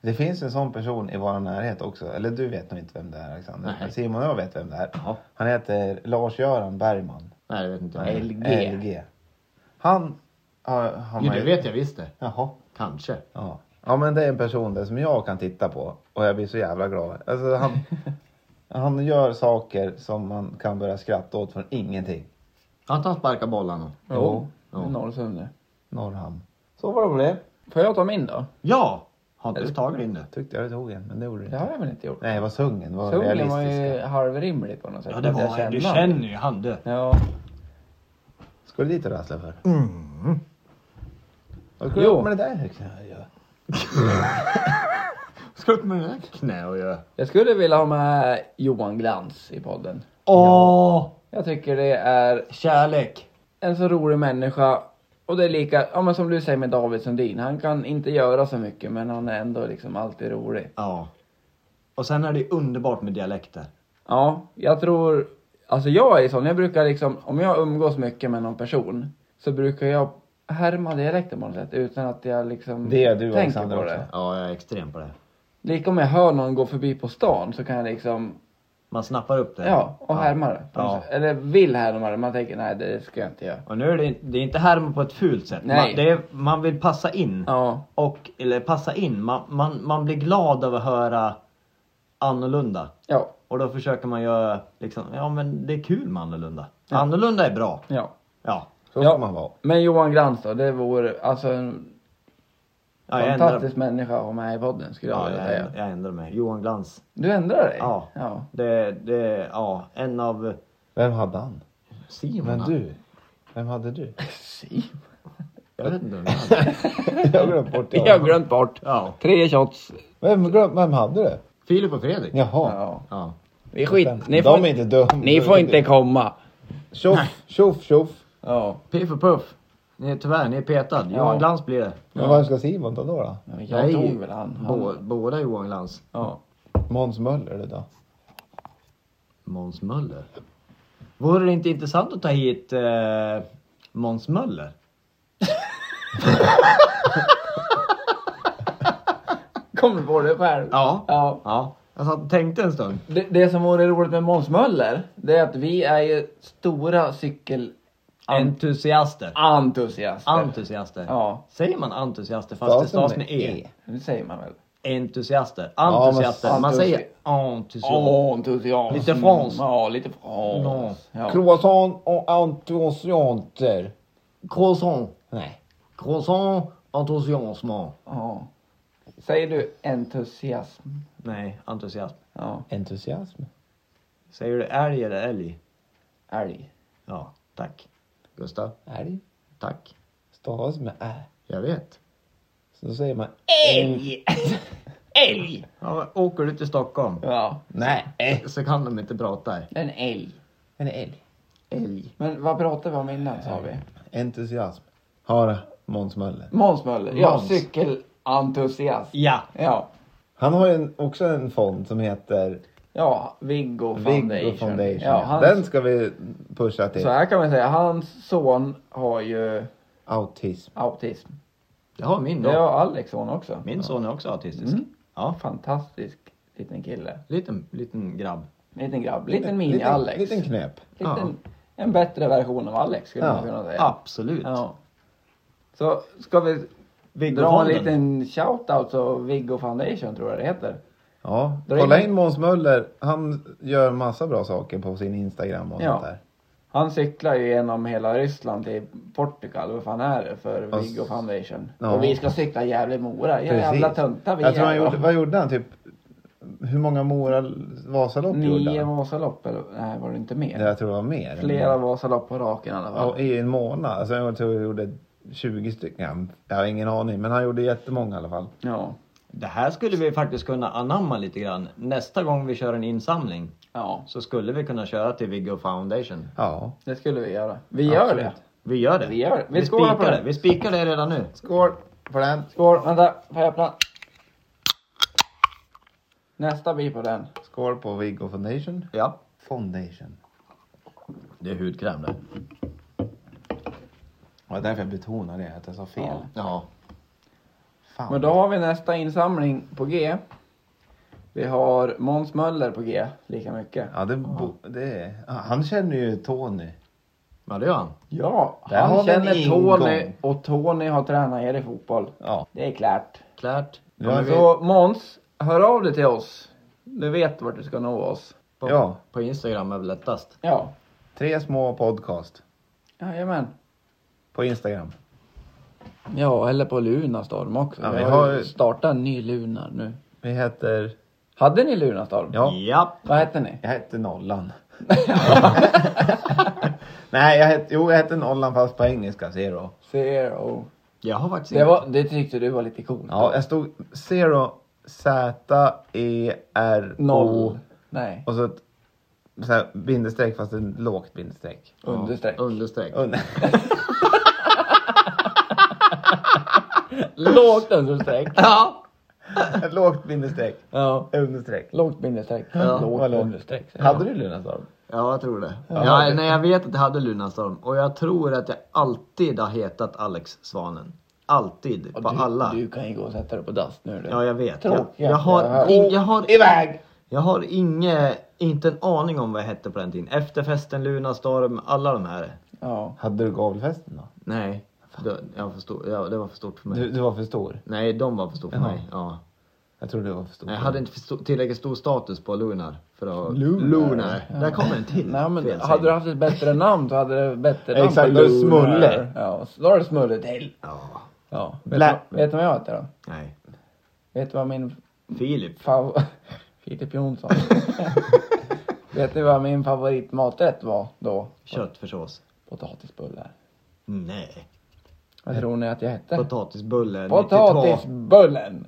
Speaker 2: Det finns en sån person i vår närhet också. Eller du vet nog inte vem det är Alexander.
Speaker 1: Nej.
Speaker 2: Simon och jag vet vem det är.
Speaker 1: Ja.
Speaker 2: Han heter Lars-Göran Bergman.
Speaker 1: Nej, det vet inte
Speaker 3: Nej.
Speaker 1: jag.
Speaker 3: LG.
Speaker 2: LG. Han... har- har
Speaker 1: Jo,
Speaker 2: man
Speaker 1: det
Speaker 2: ju-
Speaker 1: vet jag visst det.
Speaker 2: Jaha.
Speaker 1: Kanske.
Speaker 2: Ja. ja men det är en person där som jag kan titta på och jag blir så jävla glad. Alltså han, han gör saker som man kan börja skratta åt från ingenting.
Speaker 1: Har inte han sparkat bollarna?
Speaker 3: Jo.
Speaker 1: Jo.
Speaker 3: jo. Norrsundet.
Speaker 2: Norrhamn. Så var det med det.
Speaker 3: Får jag ta min då?
Speaker 1: Ja! Har inte du tagit in det?
Speaker 2: Tyckte jag du tog en men det gjorde du
Speaker 3: Det
Speaker 2: inte.
Speaker 3: har jag väl inte gjort?
Speaker 2: Nej det var sungen, det var
Speaker 3: Sungen var
Speaker 2: realistiska.
Speaker 3: ju halvrimlig på något sätt.
Speaker 1: Ja, det
Speaker 3: att jag
Speaker 1: var jag. Du
Speaker 3: kände honom.
Speaker 1: känner ju han du.
Speaker 3: Ja.
Speaker 2: Ska du dit och rassla för?
Speaker 1: Mm.
Speaker 2: Vad ska du
Speaker 3: Jo.
Speaker 2: upp med det där knöet?
Speaker 1: Ska upp med det där knä och göra?
Speaker 3: Jag skulle vilja ha med Johan Glans i podden.
Speaker 1: Åh!
Speaker 3: Jag tycker det är
Speaker 1: Kärlek!
Speaker 3: en så rolig människa. Och det är lika, ja men som du säger med David Sundin. Han kan inte göra så mycket men han är ändå liksom alltid rolig.
Speaker 1: Ja. Och sen är det ju underbart med dialekter.
Speaker 3: Ja, jag tror... Alltså jag är sån, jag brukar liksom, om jag umgås mycket med någon person så brukar jag härma dialekten på något sätt utan att jag liksom
Speaker 2: Det är du,
Speaker 3: tänker
Speaker 2: Alexander,
Speaker 3: på
Speaker 2: också.
Speaker 3: det.
Speaker 1: Ja, jag är extrem på det.
Speaker 3: Lika om jag hör någon gå förbi på stan så kan jag liksom,
Speaker 1: Man snappar upp det.
Speaker 3: ja, och härma det. på något
Speaker 1: Ja.
Speaker 3: sätt. Eller vill härma det, man tänker nej det ska jag inte göra.
Speaker 1: Och nu är det, det är inte härma på ett fult sätt.
Speaker 3: Nej.
Speaker 1: Man, det är, man vill passa in.
Speaker 3: Ja,
Speaker 1: Och, eller passa in, man, man, man blir glad av att höra annorlunda.
Speaker 3: ja,
Speaker 1: Och då försöker man göra liksom, ja men det är kul med annorlunda. Annorlunda är bra.
Speaker 3: ja.
Speaker 1: Ja.
Speaker 2: Så
Speaker 3: Ja.
Speaker 2: ska man vara.
Speaker 3: Men Johan Glans då, det vore alltså en
Speaker 1: ja jag ändrar,
Speaker 3: fantastisk människa att ha med i podden skulle jag
Speaker 1: ja,
Speaker 3: vilja
Speaker 1: jag,
Speaker 3: säga.
Speaker 1: jag ändrar mig. Johan Glans.
Speaker 3: Du ändrar dig?
Speaker 1: Ja.
Speaker 3: ja.
Speaker 1: Det, det, ja, en av
Speaker 2: Vem hade han?
Speaker 1: Simon.
Speaker 2: Men du? Vem hade du?
Speaker 3: Simon.
Speaker 1: Jag vet inte. vem han är.
Speaker 2: Jag har glömt bort det.
Speaker 3: Jag har glömt bort.
Speaker 1: Ja.
Speaker 3: Tre shots.
Speaker 2: Vem, glöm, vem hade du?
Speaker 1: Filip och Fredrik.
Speaker 2: Jaha.
Speaker 3: Ja.
Speaker 1: Ja.
Speaker 3: Vi skit,
Speaker 2: Vänta,
Speaker 3: ni
Speaker 2: de
Speaker 3: får,
Speaker 2: är inte dumma.
Speaker 3: ni får inte komma.
Speaker 2: Tjoff, tjoff, tjoff.
Speaker 3: Ja.
Speaker 1: Piff och Puff. Ni är, tyvärr, ni är petad. Johan Glans blir det.
Speaker 2: Men vem ska Simon ta då? då?
Speaker 3: Jag
Speaker 1: Nej,
Speaker 3: tog väl han. han.
Speaker 1: Bå, båda Johan Glans.
Speaker 3: Ja.
Speaker 2: Måns Möller det då?
Speaker 1: Måns Möller. Vore det inte intressant att ta hit eh, Måns Möller?
Speaker 3: Kommer du på det själv?
Speaker 1: Ja.
Speaker 3: ja.
Speaker 1: Ja. Jag satt och tänkte en stund.
Speaker 3: Det, det som vore roligt med Måns Möller, det är att vi är ju stora
Speaker 1: Entusiaster.
Speaker 3: cykelentusiaster.
Speaker 1: Entusiaster.
Speaker 3: Ja.
Speaker 1: Säger man entusiaster fast
Speaker 2: Stavas
Speaker 1: det stavas
Speaker 2: med
Speaker 1: med
Speaker 2: E?
Speaker 1: E?
Speaker 3: Det säger man väl?
Speaker 1: entusiaster.
Speaker 2: men-
Speaker 1: Entusiaster. Man
Speaker 3: entusi-
Speaker 1: säger entusiast.
Speaker 3: Åh, entusiasm.
Speaker 1: Lite frans.
Speaker 3: Ja, lite frans. Ja.
Speaker 2: Croissant och entusiaster.
Speaker 1: Croissant.
Speaker 2: Nej.
Speaker 1: Croissant. Entusiasm.
Speaker 3: Ja. Säger du entusiasm?
Speaker 1: Nej, entusiasm.
Speaker 3: Ja.
Speaker 2: Entusiasm.
Speaker 1: Säger du älg eller älg?
Speaker 3: Älg.
Speaker 1: Ja, tack. Gustav,
Speaker 2: Älg.
Speaker 1: tack.
Speaker 2: Stavas med ä.
Speaker 1: Jag vet.
Speaker 2: Så då säger man
Speaker 3: Älg! älg!
Speaker 1: Ja, men åker du till Stockholm
Speaker 3: Ja,
Speaker 2: Nej. Ä.
Speaker 1: så kan de inte prata här.
Speaker 3: en älg.
Speaker 2: En älg.
Speaker 1: Älg.
Speaker 3: Men vad pratade vi om innan sa vi?
Speaker 2: Entusiasm. Hara Måns Möller.
Speaker 3: Måns Möller. Ja,
Speaker 1: Måns.
Speaker 3: cykelentusiasm.
Speaker 1: Ja.
Speaker 3: Ja.
Speaker 2: Han har ju en, också en fond som heter
Speaker 3: Ja, Viggo Foundation.
Speaker 2: Viggo Foundation.
Speaker 3: Ja, hans,
Speaker 2: Den ska vi pusha till.
Speaker 3: Så här kan man säga, hans son har ju
Speaker 2: Autism.
Speaker 3: autism.
Speaker 1: Det har min
Speaker 3: Det
Speaker 1: då.
Speaker 3: har Alex son också.
Speaker 1: Min son är också autistisk.
Speaker 3: Mm.
Speaker 1: Ja.
Speaker 3: Fantastisk liten kille.
Speaker 1: Liten, liten grabb.
Speaker 3: Liten grabb. Liten mini-Alex.
Speaker 2: Liten knep.
Speaker 3: Liten- En bättre version av Alex skulle
Speaker 2: Ja.
Speaker 3: man kunna säga.
Speaker 1: Absolut.
Speaker 3: Ja. Så ska vi
Speaker 1: Viggo
Speaker 3: dra en
Speaker 1: Fonden.
Speaker 3: liten shout-out så Viggo Foundation tror jag det heter.
Speaker 2: Ja,
Speaker 3: Dra in-
Speaker 2: kolla in Måns Möller. Han gör massa bra saker på sin Instagram och
Speaker 3: Ja.
Speaker 2: sånt där.
Speaker 3: Han cyklar ju genom hela Ryssland till Portugal. Vad fan är det för
Speaker 2: Fast-
Speaker 3: Viggo Foundation?
Speaker 2: Alltså, Ja.
Speaker 3: Och vi ska cykla Gävle-Mora. Jävla töntar vi
Speaker 2: Jag tror
Speaker 3: är.
Speaker 2: han gjorde, vad gjorde han? Typ, hur många Mora Vasalopp gjorde
Speaker 3: Nio
Speaker 2: han?
Speaker 3: Vasalopp eller? Nej, var det inte mer?
Speaker 2: Nej, Jag tror det var mer.
Speaker 3: Flera Vasalopp på raken i alla fall.
Speaker 2: Ja, I en månad. Alltså, jag tror han gjorde 20 stycken. Jag har ingen aning, men han gjorde jättemånga i alla fall.
Speaker 3: Ja.
Speaker 1: Det här skulle vi faktiskt kunna anamma lite grann. Nästa gång vi kör en insamling
Speaker 3: ja,
Speaker 1: så skulle vi kunna köra till Viggo Foundation.
Speaker 2: Ja.
Speaker 3: det skulle vi göra. Vi gör
Speaker 2: Absolut.
Speaker 3: det.
Speaker 1: Vi gör det.
Speaker 3: Vi gör det. Vi
Speaker 1: Vi,
Speaker 3: skålar på
Speaker 1: spikar
Speaker 3: det.
Speaker 1: det. Vi spikar det redan nu.
Speaker 2: Skål på den.
Speaker 3: Skål, vänta, får jag öppna? Nästa blir på den.
Speaker 2: Skål på Viggo Foundation.
Speaker 1: Ja.
Speaker 2: Foundation.
Speaker 1: Det är hudkräm det.
Speaker 2: Det var därför jag betonade det, att jag sa fel.
Speaker 3: Ja.
Speaker 1: Ja.
Speaker 2: Fan.
Speaker 3: Men då har vi nästa insamling på G. Vi har Måns Möller på G, lika mycket.
Speaker 2: Ja, det, bo, det är... ah, Han känner ju Tony.
Speaker 1: Ja det gör han.
Speaker 3: Ja,
Speaker 2: Där har
Speaker 3: han
Speaker 2: vi en
Speaker 3: känner
Speaker 2: ingång.
Speaker 3: Tony och Tony har tränat er i fotboll.
Speaker 2: Ja.
Speaker 3: Det är klart.
Speaker 1: Klart.
Speaker 2: Ja,
Speaker 1: Kommer
Speaker 2: vi-
Speaker 1: vi
Speaker 3: Så Måns, hör av dig till oss. Du vet vart du ska nå oss.
Speaker 1: på,
Speaker 2: Ja.
Speaker 1: på Instagram är väl lättast.
Speaker 3: Ja,
Speaker 2: Tre små podcast
Speaker 3: jajamän.
Speaker 2: på Instagram.
Speaker 3: Ja, eller på Lunarstorm också.
Speaker 2: Ja,
Speaker 3: vi
Speaker 2: vi
Speaker 3: har
Speaker 2: har-
Speaker 3: ju startat en ny Lunar nu.
Speaker 2: Vi heter...
Speaker 3: Hade ni Lunarstorm?
Speaker 2: Ja.
Speaker 1: Japp.
Speaker 3: Vad hette ni?
Speaker 2: Jag hette Nollan. Nej, jag hette, jo, jag hette Nollan fast på engelska, zero.
Speaker 3: Zero.
Speaker 1: Jag har faktiskt
Speaker 3: Det,
Speaker 1: inte-
Speaker 3: var, det tyckte du var lite coolt.
Speaker 2: Ja, jag stod zero, Z, E, R, O.
Speaker 3: Noll. Nej.
Speaker 2: Och så ett så här, bindestreck fast ett lågt bindestreck.
Speaker 3: Understreck.
Speaker 1: understreck.
Speaker 2: Und-
Speaker 3: Lågt understreck.
Speaker 1: Ja.
Speaker 2: ett lågt bindestreck.
Speaker 3: ja.
Speaker 2: Understreck.
Speaker 3: Lågt bindestreck.
Speaker 1: Ja,
Speaker 3: Lågt
Speaker 2: vad lågt.
Speaker 3: understreck. säger
Speaker 2: Hade du Lunarstorm?
Speaker 1: Ja, jag tror det.
Speaker 2: Ja,
Speaker 1: Ja, nej, jag vet att jag hade Lunarstorm och jag tror att jag alltid har hetat Alex Svanen. Alltid,
Speaker 3: jag.
Speaker 1: på
Speaker 3: du,
Speaker 1: alla.
Speaker 3: Du kan ju gå och sätta dig på dass nu du.
Speaker 1: Ja, jag vet. Jag,
Speaker 3: Tråkiga.
Speaker 1: jag har,
Speaker 3: Gå
Speaker 1: in, jag har,
Speaker 3: iväg!
Speaker 1: jag har inge, inte en aning om vad jag hette på den tiden. Efterfesten, Lunarstorm, alla de här.
Speaker 3: Ja.
Speaker 2: Hade du gavelfesten då?
Speaker 1: Nej, det, jag för stor, ja, det var för stort för mig.
Speaker 2: Du, du var för stor.
Speaker 1: Nej, de var för stor för
Speaker 2: Jaha.
Speaker 1: mig. Ja.
Speaker 2: Jag tror du var för stor.
Speaker 1: Nej, Jag hade inte för stor, tillräckligt stor status på Lunar. För att,
Speaker 2: Lunar.
Speaker 1: Där kom en till
Speaker 3: Nej men
Speaker 1: felsägning.
Speaker 3: hade du haft ett bättre namn så hade det bättre namn.
Speaker 2: Exakt,
Speaker 3: på
Speaker 2: då är det
Speaker 3: Lunar.
Speaker 2: Smulle.
Speaker 3: Ja, så då är det Smulle till.
Speaker 1: Ja,
Speaker 3: Ja. Vet,
Speaker 2: Lä-
Speaker 3: du, vet du vad jag heter då?
Speaker 1: nej.
Speaker 3: Vet du vad min
Speaker 1: Filip.
Speaker 3: fav... Filip Jonsson. vet ni vad min favoritmaträtt var då?
Speaker 1: Köttfärssås.
Speaker 3: Potatisbullar.
Speaker 1: Nej.
Speaker 3: Vad tror ni att jag hette?
Speaker 1: Potatisbulle. 92.
Speaker 3: Potatisbullen!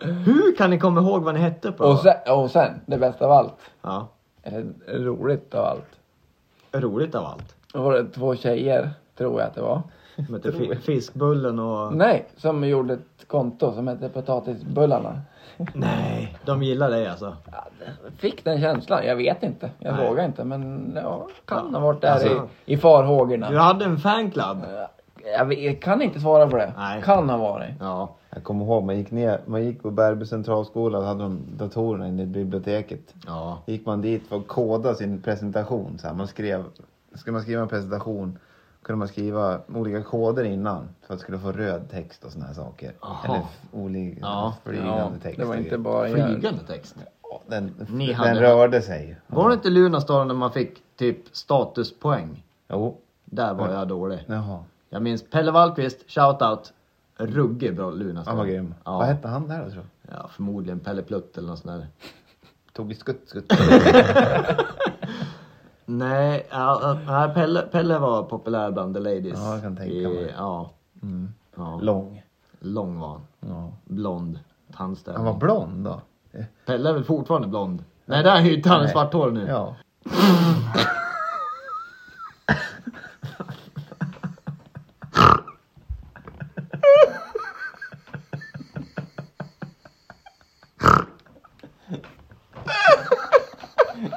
Speaker 1: Hur kan ni komma ihåg vad ni hette på?
Speaker 3: Och sen, och sen, det bästa av allt.
Speaker 1: Ja.
Speaker 3: Eller roligt av allt.
Speaker 1: Roligt av allt.
Speaker 3: Då var det två tjejer, tror jag att det var.
Speaker 1: De hette fi- Fiskbullen och...
Speaker 3: Nej, som gjorde ett konto som hette Potatisbullarna.
Speaker 1: Nej. De gillar dig alltså.
Speaker 3: Fick den känslan, jag vet inte. Jag
Speaker 1: Nej.
Speaker 3: vågar inte men ja, kan ha varit där
Speaker 1: Alltså.
Speaker 3: i, i farhågorna.
Speaker 1: Du hade en fanclub.
Speaker 3: Jag, vet- jag kan inte svara på det.
Speaker 1: Nej.
Speaker 3: Kan ha varit.
Speaker 1: Ja.
Speaker 2: Jag kommer ihåg, man gick ner, man gick på Bärby centralskola och hade de datorerna inne i biblioteket.
Speaker 1: Ja.
Speaker 2: gick man dit för att koda sin presentation. Så här, man skrev, ska man skriva en presentation kunde man skriva olika koder innan för att skulle få röd text och såna här saker.
Speaker 1: Aha.
Speaker 2: Eller f- olika
Speaker 1: Ja.
Speaker 2: flygande text.
Speaker 3: det var
Speaker 2: och
Speaker 3: inte
Speaker 2: grejer.
Speaker 3: bara...
Speaker 4: Flygande text.
Speaker 2: Ja, Den,
Speaker 1: Ni
Speaker 2: den
Speaker 1: hade-
Speaker 2: rörde sig.
Speaker 1: Var det inte Lunarstorm när man fick typ statuspoäng?
Speaker 2: Jo.
Speaker 1: Där var jag dålig.
Speaker 2: Jaha.
Speaker 1: Jag minns Pelle Wallqvist, shoutout. Ruggig bra
Speaker 2: Han
Speaker 1: Lunarstorm.
Speaker 2: var grym.
Speaker 1: Ja.
Speaker 2: Vad hette han där då tror du?
Speaker 1: Ja, förmodligen Pelle Plutt eller något sånt där.
Speaker 2: Tobbe Skutt Skutt.
Speaker 1: Nej, ja, nej Pelle, Pelle var populär bland the ladies.
Speaker 2: Ja, jag kan tänka
Speaker 1: I-
Speaker 2: mig.
Speaker 1: Ja,
Speaker 2: Mm.
Speaker 1: ja.
Speaker 2: Lång.
Speaker 1: Lång var han.
Speaker 2: Ja.
Speaker 1: Blond.
Speaker 2: Han
Speaker 1: Tandställning.
Speaker 2: var blond då. Eh,
Speaker 1: Pelle är väl fortfarande blond? Nej, där är ju inte han är
Speaker 2: Nej.
Speaker 1: svart hår nu.
Speaker 2: Ja.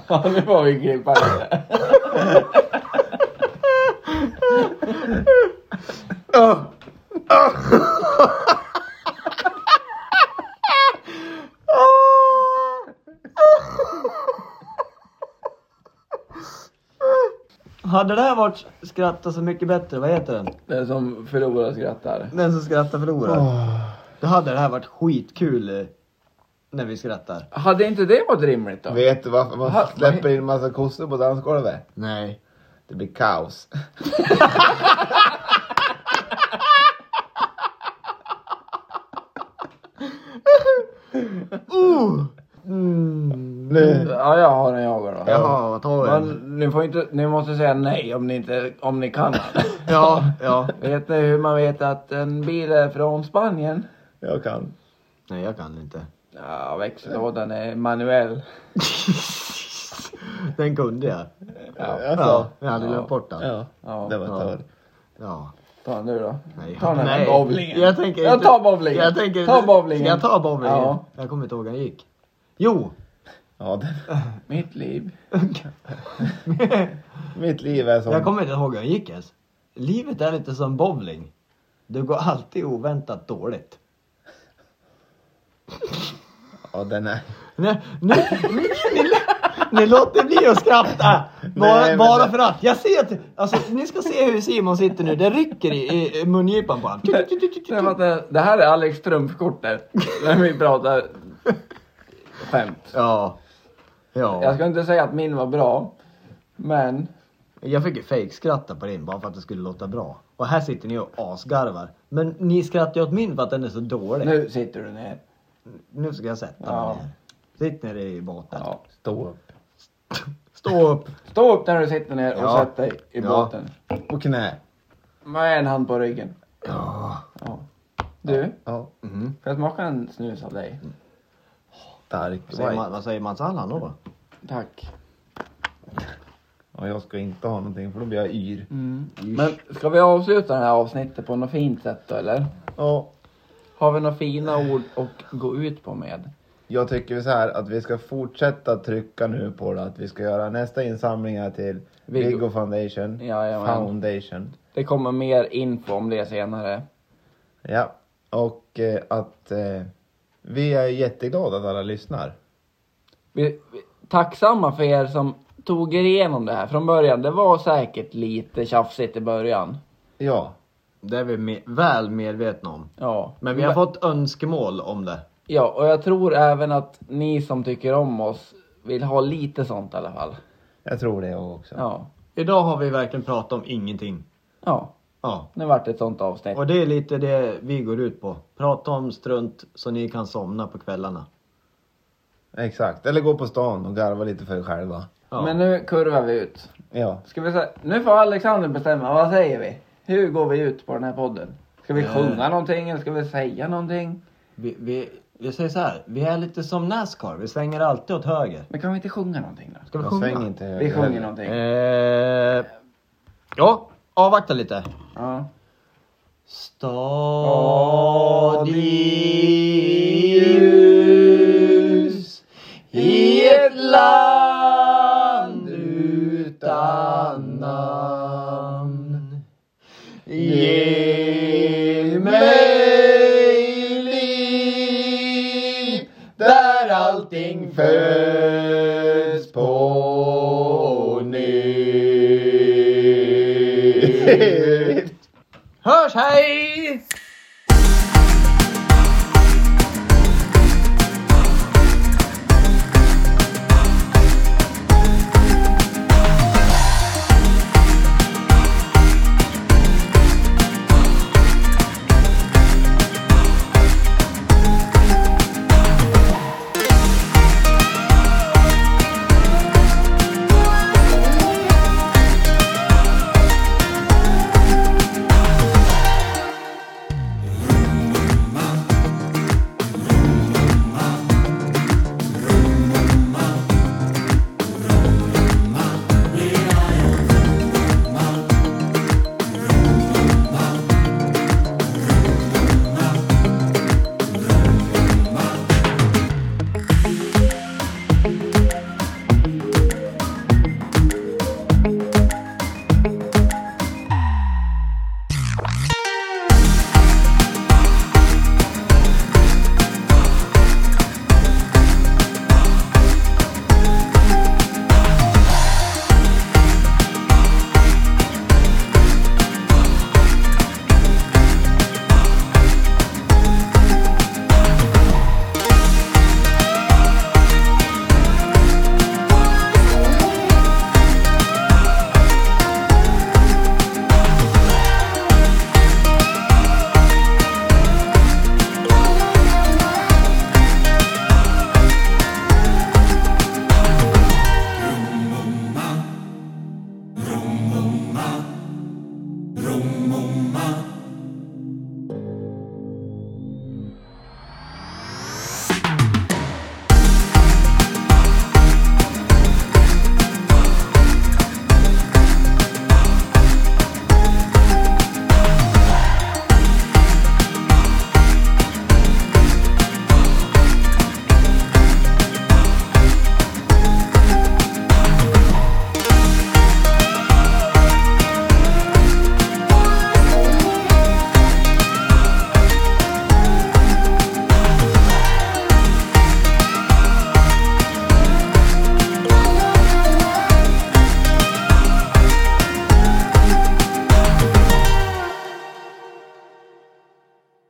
Speaker 3: Ja, nu var vi grippade.
Speaker 1: Hade det här varit Skratta så mycket bättre, vad heter den?
Speaker 3: Den som förlorar skrattar.
Speaker 1: Den som skrattar förlorar. Då hade det här varit skitkul eh, när vi skrattar.
Speaker 3: Hade inte det varit rimligt då?
Speaker 2: Vet du varför
Speaker 3: Aha,
Speaker 2: man släpper in massa kossor på dansgolvet?
Speaker 1: Nej.
Speaker 2: Det blir kaos. Nu.
Speaker 3: Ja, jag har en jagare då.
Speaker 1: Mm. Jaha, vad tar vi? den?
Speaker 3: Man, ni, får inte, ni måste säga nej om ni, inte, om ni kan.
Speaker 1: Ja, ja.
Speaker 3: vet ni hur man vet att en bil är från Spanien?
Speaker 2: Jag kan.
Speaker 1: Nej, jag kan inte.
Speaker 3: Ja, växellådan är manuell.
Speaker 1: Den kunde jag.
Speaker 2: Alltså,
Speaker 1: Ja, jag hade
Speaker 3: Ja.
Speaker 1: glömt bort den.
Speaker 2: Ja.
Speaker 3: Ja.
Speaker 2: Det var
Speaker 1: Ja.
Speaker 2: törr.
Speaker 1: Ja.
Speaker 3: Ta den nu då.
Speaker 1: Nej.
Speaker 3: Ta den här
Speaker 1: Nej.
Speaker 3: bowlingen.
Speaker 1: Jag tänker
Speaker 3: jag
Speaker 1: inte-
Speaker 3: tar bowlingen.
Speaker 1: Jag tänker,
Speaker 3: ta bowlingen.
Speaker 1: Ska jag ta bowlingen?
Speaker 3: Ja.
Speaker 1: Jag kommer inte ihåg hur den gick. Jo!
Speaker 2: Ja, den,
Speaker 3: Mitt liv.
Speaker 2: mitt liv är
Speaker 1: Jag
Speaker 2: sånt.
Speaker 1: kommer inte ihåg hur den gick ens. Livet är lite som bowling. Det går alltid oväntat dåligt.
Speaker 2: Ja, den är...
Speaker 1: Nej, nej, ni, ni låter bli att skratta! Bara,
Speaker 2: Nej, men
Speaker 1: bara
Speaker 2: det-
Speaker 1: för att. Jag ser att, alltså, ni ska se hur Simon sitter nu. Det rycker i, i mungipan på honom.
Speaker 3: Nej, vänta. Det här är Alex trumfkortet. När vi pratar skämt.
Speaker 1: Ja.
Speaker 3: Jag
Speaker 1: Ja.
Speaker 3: ska inte säga att min var bra. Men
Speaker 1: Jag fick ju fejkskratta på din bara för att det skulle låta bra. Och här sitter ni och asgarvar. Men ni skrattar ju åt min för att den är så dålig.
Speaker 3: nu sitter du ner.
Speaker 1: Nu ska jag sätta
Speaker 3: Ja.
Speaker 1: mig ner. Sitt ner i båten.
Speaker 3: Ja.
Speaker 2: Stå upp.
Speaker 1: Stå upp.
Speaker 3: Stå upp när du sitter ner och
Speaker 1: Ja.
Speaker 3: sätt dig i
Speaker 1: Ja.
Speaker 3: båten.
Speaker 2: På knä.
Speaker 3: Med en hand på ryggen. Ja. Du,
Speaker 2: Ja.
Speaker 3: får jag smaka en snus av dig?
Speaker 1: Mm.
Speaker 2: Stark.
Speaker 1: Säger man,
Speaker 2: white.
Speaker 1: vad säger Mats Allan då?
Speaker 3: Tack.
Speaker 2: Ja, jag ska inte ha någonting för då blir jag yr.
Speaker 1: Mm.
Speaker 3: Men ska vi avsluta det här avsnittet på något fint sätt då eller?
Speaker 2: Ja.
Speaker 3: Har vi några fina ord att gå ut på med?
Speaker 2: Jag tycker så här att vi ska fortsätta trycka nu på det. Att vi ska göra nästa insamlingar till
Speaker 3: Viggo.
Speaker 2: Viggo, Foundation.
Speaker 3: Jajamän.
Speaker 2: Foundation.
Speaker 3: Det kommer mer info om det senare.
Speaker 2: Ja. Och eh, att eh, vi är jätteglada att alla lyssnar.
Speaker 3: Vi, vi, tacksamma för er som tog er igenom det här från början. Det var säkert lite tjafsigt i början.
Speaker 2: Ja.
Speaker 1: Det är vi me- väl medvetna om.
Speaker 3: Ja.
Speaker 1: Men vi har fått önskemål om det.
Speaker 3: Ja, och jag tror även att ni som tycker om oss vill ha lite sånt i alla fall.
Speaker 2: Jag tror det jag också.
Speaker 3: Ja.
Speaker 1: Idag har vi verkligen pratat om ingenting.
Speaker 3: Ja.
Speaker 1: Ja.
Speaker 3: Nu vart det ett sånt avsnitt.
Speaker 1: Och det är lite det vi går ut på. Prata om strunt så ni kan somna på kvällarna.
Speaker 2: Exakt. Eller gå på stan och garva lite för er själva.
Speaker 1: Ja.
Speaker 3: Men nu kurvar vi ut.
Speaker 2: Ja.
Speaker 3: Ska vi säga, nu får Alexander bestämma, vad säger vi? Hur går vi ut på den här podden? Ska vi
Speaker 1: Eh.
Speaker 3: sjunga någonting eller ska vi säga någonting?
Speaker 1: vi, vi, vi säger så här. vi är lite som Nascar, vi svänger alltid åt höger.
Speaker 3: Men kan vi inte sjunga någonting då?
Speaker 1: Ska vi
Speaker 2: Jag
Speaker 1: sjunga?
Speaker 2: svänger inte höger
Speaker 3: Vi sjunger
Speaker 2: heller.
Speaker 3: någonting.
Speaker 1: Eh, ja, avvakta lite.
Speaker 3: Ja.
Speaker 1: Stadius i ett land utan namn. Ge mig liv där allting föds på nytt. Hörs, hej!